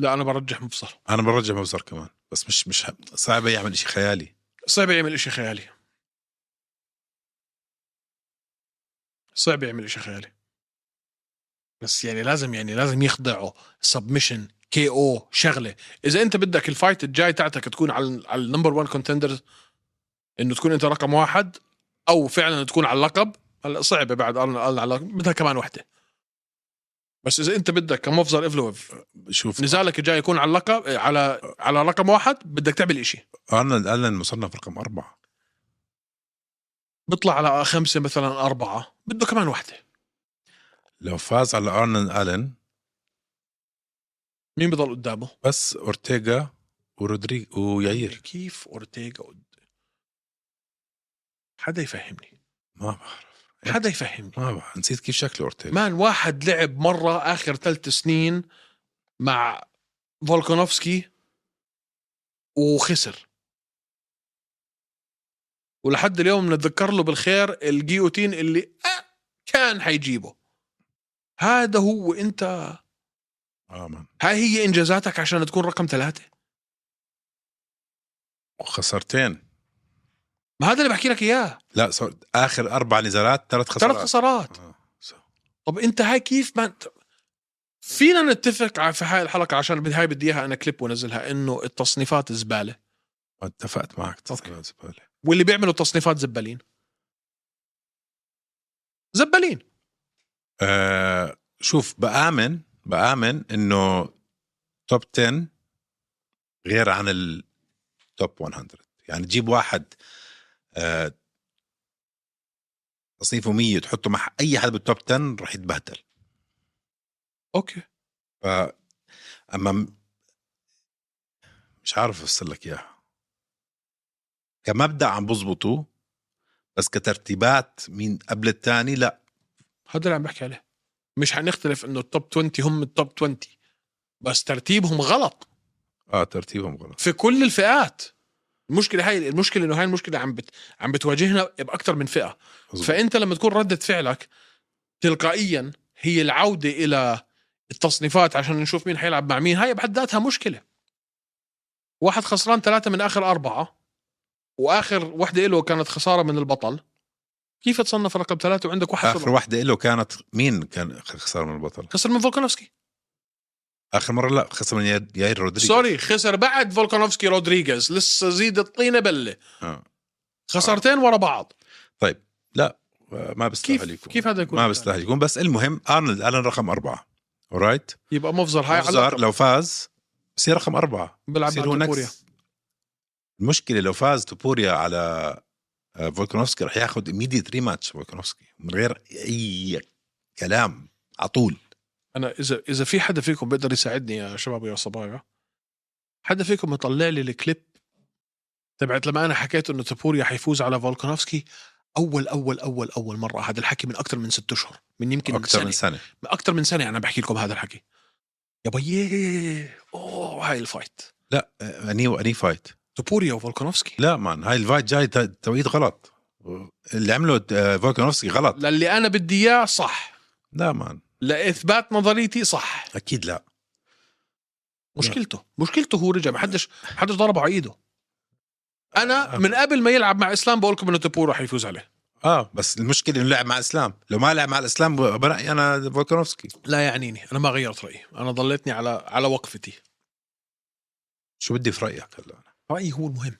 A: لا انا برجح مبصر
B: انا برجع مبزر كمان بس مش مش صعبه يعمل شيء خيالي
A: صعب يعمل إشي خيالي صعب يعمل إشي خيالي بس يعني لازم يعني لازم يخضعه سبمشن كي او شغله اذا انت بدك الفايت الجاي تاعتك تكون على على النمبر 1 كونتندر انه تكون انت رقم واحد او فعلا تكون على اللقب هلا صعبه بعد ارنولد على اللقب بدها كمان وحده بس اذا انت بدك كمفزر افلوف
B: شوف
A: نزالك الجاي يكون على اللقب على على رقم واحد بدك تعمل إشي
B: ارنولد الين مصنف رقم اربعه
A: بيطلع على خمسة مثلا أربعة بده كمان واحدة
B: لو فاز على ارنولد الين
A: مين بضل قدامه؟
B: بس اورتيغا ورودريج ويعير
A: كيف أورتيغا قد... حدا يفهمني
B: ما بعرف
A: حدا يفهمني
B: ما بعرف نسيت كيف شكله اورتيغا
A: مان واحد لعب مرة آخر ثلاث سنين مع فولكانوفسكي وخسر ولحد اليوم نتذكر له بالخير الجيوتين اللي أه كان حيجيبه هذا هو انت
B: اه مان
A: هاي هي انجازاتك عشان تكون رقم ثلاثة
B: وخسرتين
A: ما هذا اللي بحكي لك اياه
B: لا سوري اخر اربع نزالات ثلاث خسارات
A: ثلاث خسارات
B: آه. سو-
A: طب انت هاي كيف ما فينا نتفق ع- في هاي الحلقه عشان بدي- هاي بدي اياها انا كليب وانزلها انه التصنيفات زباله
B: اتفقت معك
A: أوكي.
B: تصريحات زبالة.
A: واللي بيعملوا تصنيفات زبالين زبالين
B: آه شوف بآمن بآمن انه توب 10 غير عن التوب 100 يعني تجيب واحد آه تصنيفه 100 تحطه مع اي حد بالتوب 10 رح يتبهدل
A: اوكي
B: ف اما م- مش عارف افسر لك اياها كمبدا عم بزبطه بس كترتيبات مين قبل الثاني لا
A: هذا اللي عم بحكي عليه مش حنختلف انه التوب 20 هم التوب 20 بس ترتيبهم غلط
B: اه ترتيبهم غلط
A: في كل الفئات المشكله هاي المشكله انه هاي المشكله عم بت... عم بتواجهنا باكثر من فئه
B: مظبوط.
A: فانت لما تكون رده فعلك تلقائيا هي العوده الى التصنيفات عشان نشوف مين حيلعب مع مين هاي بحد ذاتها مشكله واحد خسران ثلاثه من اخر اربعه واخر وحده له كانت خساره من البطل كيف تصنف رقم ثلاثه وعندك واحد
B: اخر
A: خسر,
B: واحدة له كانت مين كان خسر من البطل؟
A: خسر من فولكانوفسكي
B: اخر مرة لا خسر من ياير- ياير رودريجيز
A: سوري خسر بعد فولكانوفسكي رودريغيز لسه زيد الطينه بله
B: آه.
A: خسارتين ورا بعض
B: آه، ما بستاهل
A: كيف
B: يكون
A: كيف هذا يكون
B: ما بستاهل يكون بس المهم ارنولد الن رقم أربعة اورايت
A: يبقى مفزر هاي على
B: صار لو فاز بصير رقم أربعة
A: بيلعب
B: بصير هو
A: مع كوريا
B: نكس المشكله لو فاز توبوريا على آه، فولكانوفسكي رح ياخذ ايميديت ريماتش فولكانوفسكي من غير اي كلام على طول
A: انا اذا اذا في حدا فيكم بيقدر يساعدني يا شباب ويا صبايا حدا فيكم يطلع لي الكليب تبعت لما انا حكيت انه تابوريا حيفوز على فولكانوفسكي اول اول اول اول مره هذا الحكي من اكثر من ست اشهر من يمكن
B: اكثر من
A: سنة.
B: سنه
A: اكثر من سنه انا بحكي لكم هذا الحكي يا بيي اوه هاي الفايت
B: لا آه، اني واني فايت
A: تبوريا وفولكانوفسكي
B: لا مان هاي الفايت جاي ت- توقيت غلط اللي عمله آه، فولكانوفسكي غلط
A: للي انا بدي اياه صح
B: لا مان
A: لاثبات نظريتي صح
B: اكيد لا
A: مشكلته نعم. مشكلته هو رجع ما حدش ما حدش ضربه على ايده انا
B: آه.
A: من قبل ما يلعب مع اسلام بقول لكم انه تبور راح يفوز عليه
B: اه بس المشكله انه لعب مع اسلام لو ما لعب مع الاسلام برايي انا فولكانوفسكي
A: لا يعنيني انا ما غيرت رايي انا ضليتني على على وقفتي
B: شو بدي في رايك هلا
A: رايي هو المهم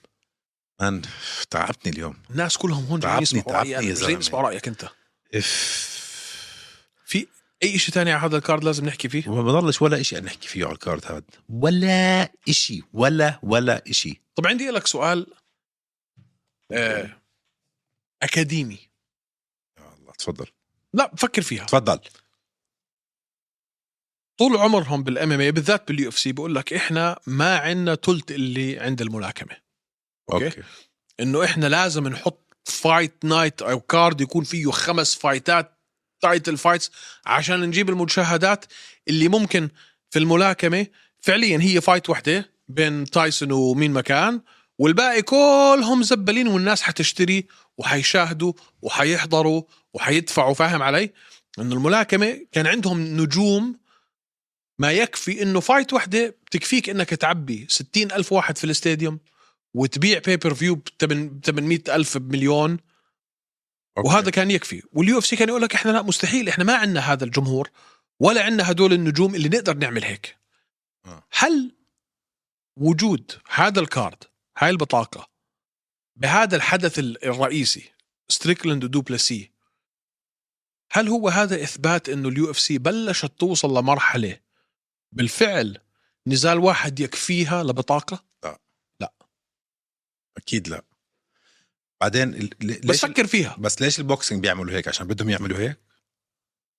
B: مان تعبتني اليوم
A: الناس كلهم هون جايين
B: تعبني-
A: يسمعوا
B: تعبني
A: رايي انا
B: يا
A: مش جايين
B: زلمة.
A: يسمعوا رايك انت
B: اف
A: في اي شيء تاني على هذا الكارد لازم نحكي فيه
B: وما بضلش ولا شيء نحكي فيه على الكارد هذا ولا شيء ولا ولا شيء
A: طب عندي لك سؤال آه اكاديمي
B: يا الله تفضل
A: لا فكر فيها
B: تفضل
A: طول عمرهم بالام ام إيه، بالذات باليو اف سي بقول لك احنا ما عندنا تلت اللي عند الملاكمه أوكي. انه احنا لازم نحط فايت نايت او كارد يكون فيه خمس فايتات تايتل فايتس عشان نجيب المشاهدات اللي ممكن في الملاكمه فعليا هي فايت واحده بين تايسون ومين مكان والباقي كلهم زبلين والناس حتشتري وحيشاهدوا وحيحضروا وحيدفعوا فاهم علي؟ انه الملاكمه كان عندهم نجوم ما يكفي انه فايت واحده بتكفيك انك تعبي 60 الف واحد في الاستاديوم وتبيع بيبر فيو ب 800 ألف بمليون
B: أوكي.
A: وهذا كان يكفي واليو اف سي كان يقول لك احنا لا مستحيل احنا ما عندنا هذا الجمهور ولا عندنا هدول النجوم اللي نقدر نعمل هيك
B: آه.
A: هل وجود هذا الكارد هاي البطاقة بهذا الحدث ال- الرئيسي ستريكلند ودوبلسي هل هو هذا إثبات أنه اليو اف سي بلشت توصل لمرحلة بالفعل نزال واحد يكفيها لبطاقة
B: اكيد لا بعدين ال- ل-
A: بس
B: ليش
A: فكر فيها
B: بس ليش البوكسينج بيعملوا هيك عشان بدهم يعملوا هيك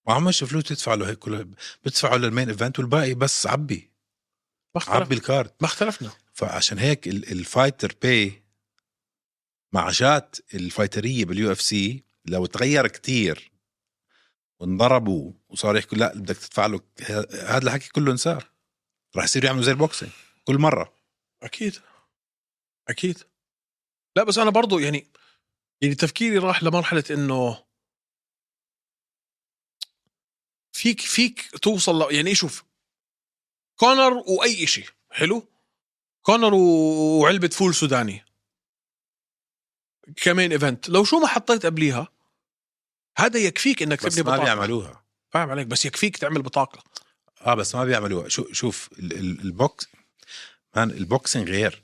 B: ما هم مش فلوس تدفع له هيك كله بتدفعوا للمين ايفنت والباقي بس عبي
A: ما اختلفنا
B: عبي الكارد
A: ما اختلفنا
B: فعشان هيك ال- الفايتر باي معاشات الفايتريه باليو اف سي لو تغير كتير وانضربوا وصاروا يحكوا لا بدك تدفع له ه- هذا الحكي كله انصار رح يصيروا يعملوا زي البوكسينج كل مره
A: اكيد اكيد لا بس انا برضو يعني يعني تفكيري راح لمرحله انه فيك فيك توصل ل... يعني شوف كونر واي شيء حلو كونر و- وعلبه فول سوداني كمين ايفنت لو شو ما حطيت قبليها هذا يكفيك انك
B: بس
A: تبني
B: ما
A: بطاقه
B: بيعملوها
A: فاهم عليك بس يكفيك تعمل بطاقه
B: اه بس ما بيعملوها شو شوف ال- ال- البوكس مان البوكسينج غير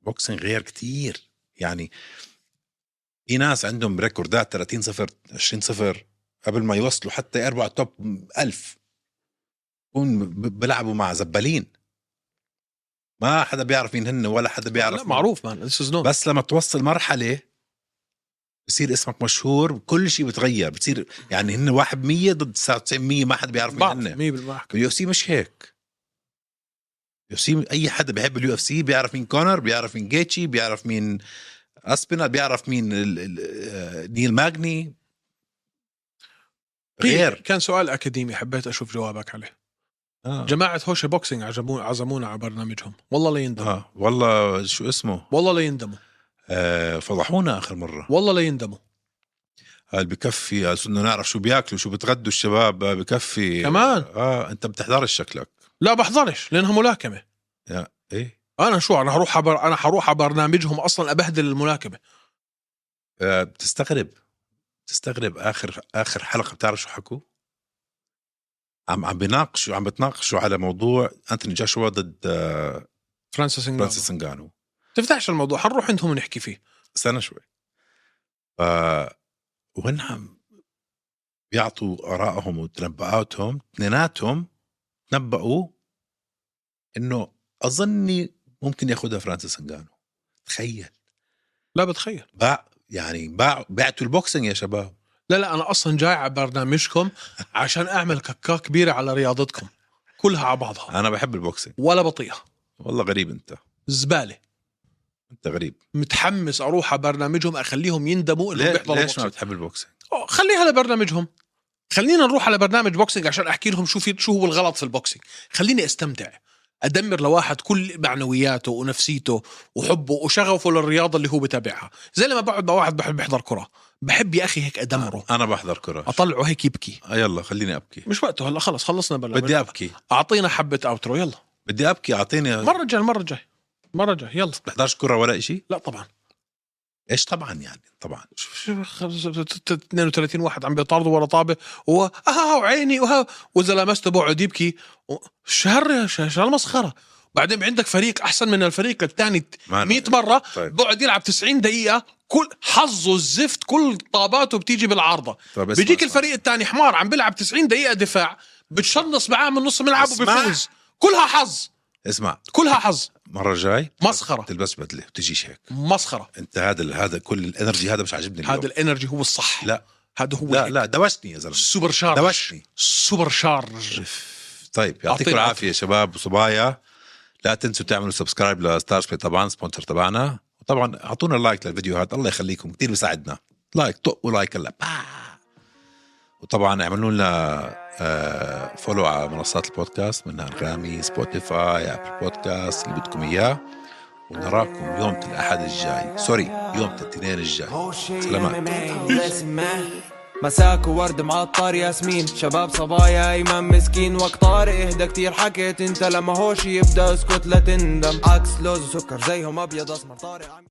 B: البوكسينج غير كتير يعني في ناس عندهم ريكوردات 30 صفر 20 صفر قبل ما يوصلوا حتى يربعوا توب 1000 بكون ب- بيلعبوا مع زبالين ما حدا بيعرف مين هن ولا حدا بيعرف
A: لا معروف مان ذس از نو
B: بس لما توصل مرحله بصير اسمك مشهور وكل شيء بتغير بتصير يعني هن واحد 100 ضد 99 ما حدا بيعرف مين هن
A: 100%
B: اليو اف سي مش هيك اليو اف سي اي حدا بيحب اليو اف سي بيعرف مين كونر بيعرف مين جيتشي بيعرف مين اسبينال بيعرف مين ال- ال- آه، نيل ماجني غير
A: كان سؤال اكاديمي حبيت اشوف جوابك عليه
B: آه.
A: جماعة هوشة بوكسينج عزمونا عزمونا على برنامجهم والله لا يندموا
B: آه. والله شو اسمه
A: والله لا يندموا
B: آه فضحونا اخر مره
A: والله لا يندموا
B: قال بكفي قال بدنا نعرف شو بياكلوا شو بتغدوا الشباب آه، بكفي
A: كمان؟
B: اه انت بتحضرش شكلك
A: لا بحضرش لانها ملاكمة
B: ايه
A: انا شو انا هروح عبر انا هروح على برنامجهم اصلا ابهدل الملاكمة
B: آه، بتستغرب بتستغرب اخر اخر حلقه بتعرف شو حكوا؟ عم عم بيناقشوا عم بتناقشوا على موضوع انتوني جاشوا ضد آه،
A: فرانسيس انجانو
B: فرانسيس انجانو
A: تفتحش الموضوع حنروح عندهم ونحكي فيه
B: استنى شوي ف وهن عم بيعطوا ارائهم وتنبؤاتهم اثنيناتهم تنبؤوا انه اظني ممكن ياخذها فرانسيس انجانو تخيل
A: لا بتخيل
B: باع يعني باع بعتوا البوكسينج يا شباب
A: لا لا انا اصلا جاي على برنامجكم عشان اعمل ككه كبيرة على رياضتكم كلها على بعضها
B: انا بحب البوكسينج
A: ولا بطيئة
B: والله غريب انت
A: زباله
B: انت غريب
A: متحمس اروح على برنامجهم اخليهم يندموا انهم
B: ليه
A: بيحضروا
B: ليش ما
A: بوكسينج
B: بتحب البوكسينج
A: آه، خليها لبرنامجهم خلينا نروح على برنامج بوكسينج عشان احكي لهم شو في شو هو الغلط في البوكسينج خليني استمتع ادمر لواحد كل معنوياته ونفسيته وحبه وشغفه للرياضه اللي هو بتابعها زي لما بقعد مع واحد بحب يحضر كره بحب يا اخي هيك ادمره
B: انا بحضر كره
A: اطلعه هيك يبكي
B: آه، يلا خليني ابكي
A: مش وقته هلا خلص خلصنا برنامج
B: بدي ابكي
A: اعطينا حبه اوترو يلا
B: بدي ابكي اعطيني ما
A: مره جاي مره جاي مره جاي يلا
B: بحضرش كره ولا إشي
A: لا طبعا
B: ايش طبعا يعني طبعا
A: شوف شوف خمسة- ت- ت- 32 واحد عم بيطاردوا ورا طابه و آه وعيني وها واذا لمسته بقعد يبكي و- شهر شهر مسخره بعدين عندك فريق احسن من الفريق الثاني
B: ما
A: 100 مره
B: طيب
A: بقعد يلعب 90 دقيقه كل حظه الزفت كل طاباته بتيجي بالعارضه
B: طيب اسمع،
A: بيجيك
B: اسمع.
A: الفريق الثاني حمار عم بيلعب 90 دقيقه دفاع بتشنص معاه من نص ملعب
B: اسمع.
A: وبيفوز كلها حظ
B: اسمع
A: كلها حظ
B: مره جاي
A: مسخره
B: تلبس بدله وتجيش هيك
A: مسخره
B: انت هذا ال- هذا كل الانرجي هذا مش عاجبني اليوم.
A: هذا الانرجي هو الصح
B: لا.
A: هذا هو
B: لا
A: الحكي.
B: لا دوشني يا زلمه
A: سوبر شارج
B: دوشني
A: سوبر شارج
B: طيب يعطيكم
A: أعطينا
B: العافيه شباب وصبايا لا تنسوا تعملوا سبسكرايب لستارز بلاي طبعا سبونسر تبعنا وطبعا اعطونا لايك للفيديوهات الله يخليكم كثير بيساعدنا لايك طقوا لايك هلا با. وطبعا اعملوا لنا فولو على منصات البودكاست منها انغامي سبوتيفاي ابل بودكاست اللي بدكم اياه ونراكم يوم الاحد الجاي سوري يوم الاثنين الجاي سلامات
C: مساك وورد معطر ياسمين شباب صبايا ايمن مسكين وقت طارق اهدى كتير حكيت انت لما هوش يبدا اسكت لا تندم عكس لوز وسكر زيهم ابيض اسمر طارق عم-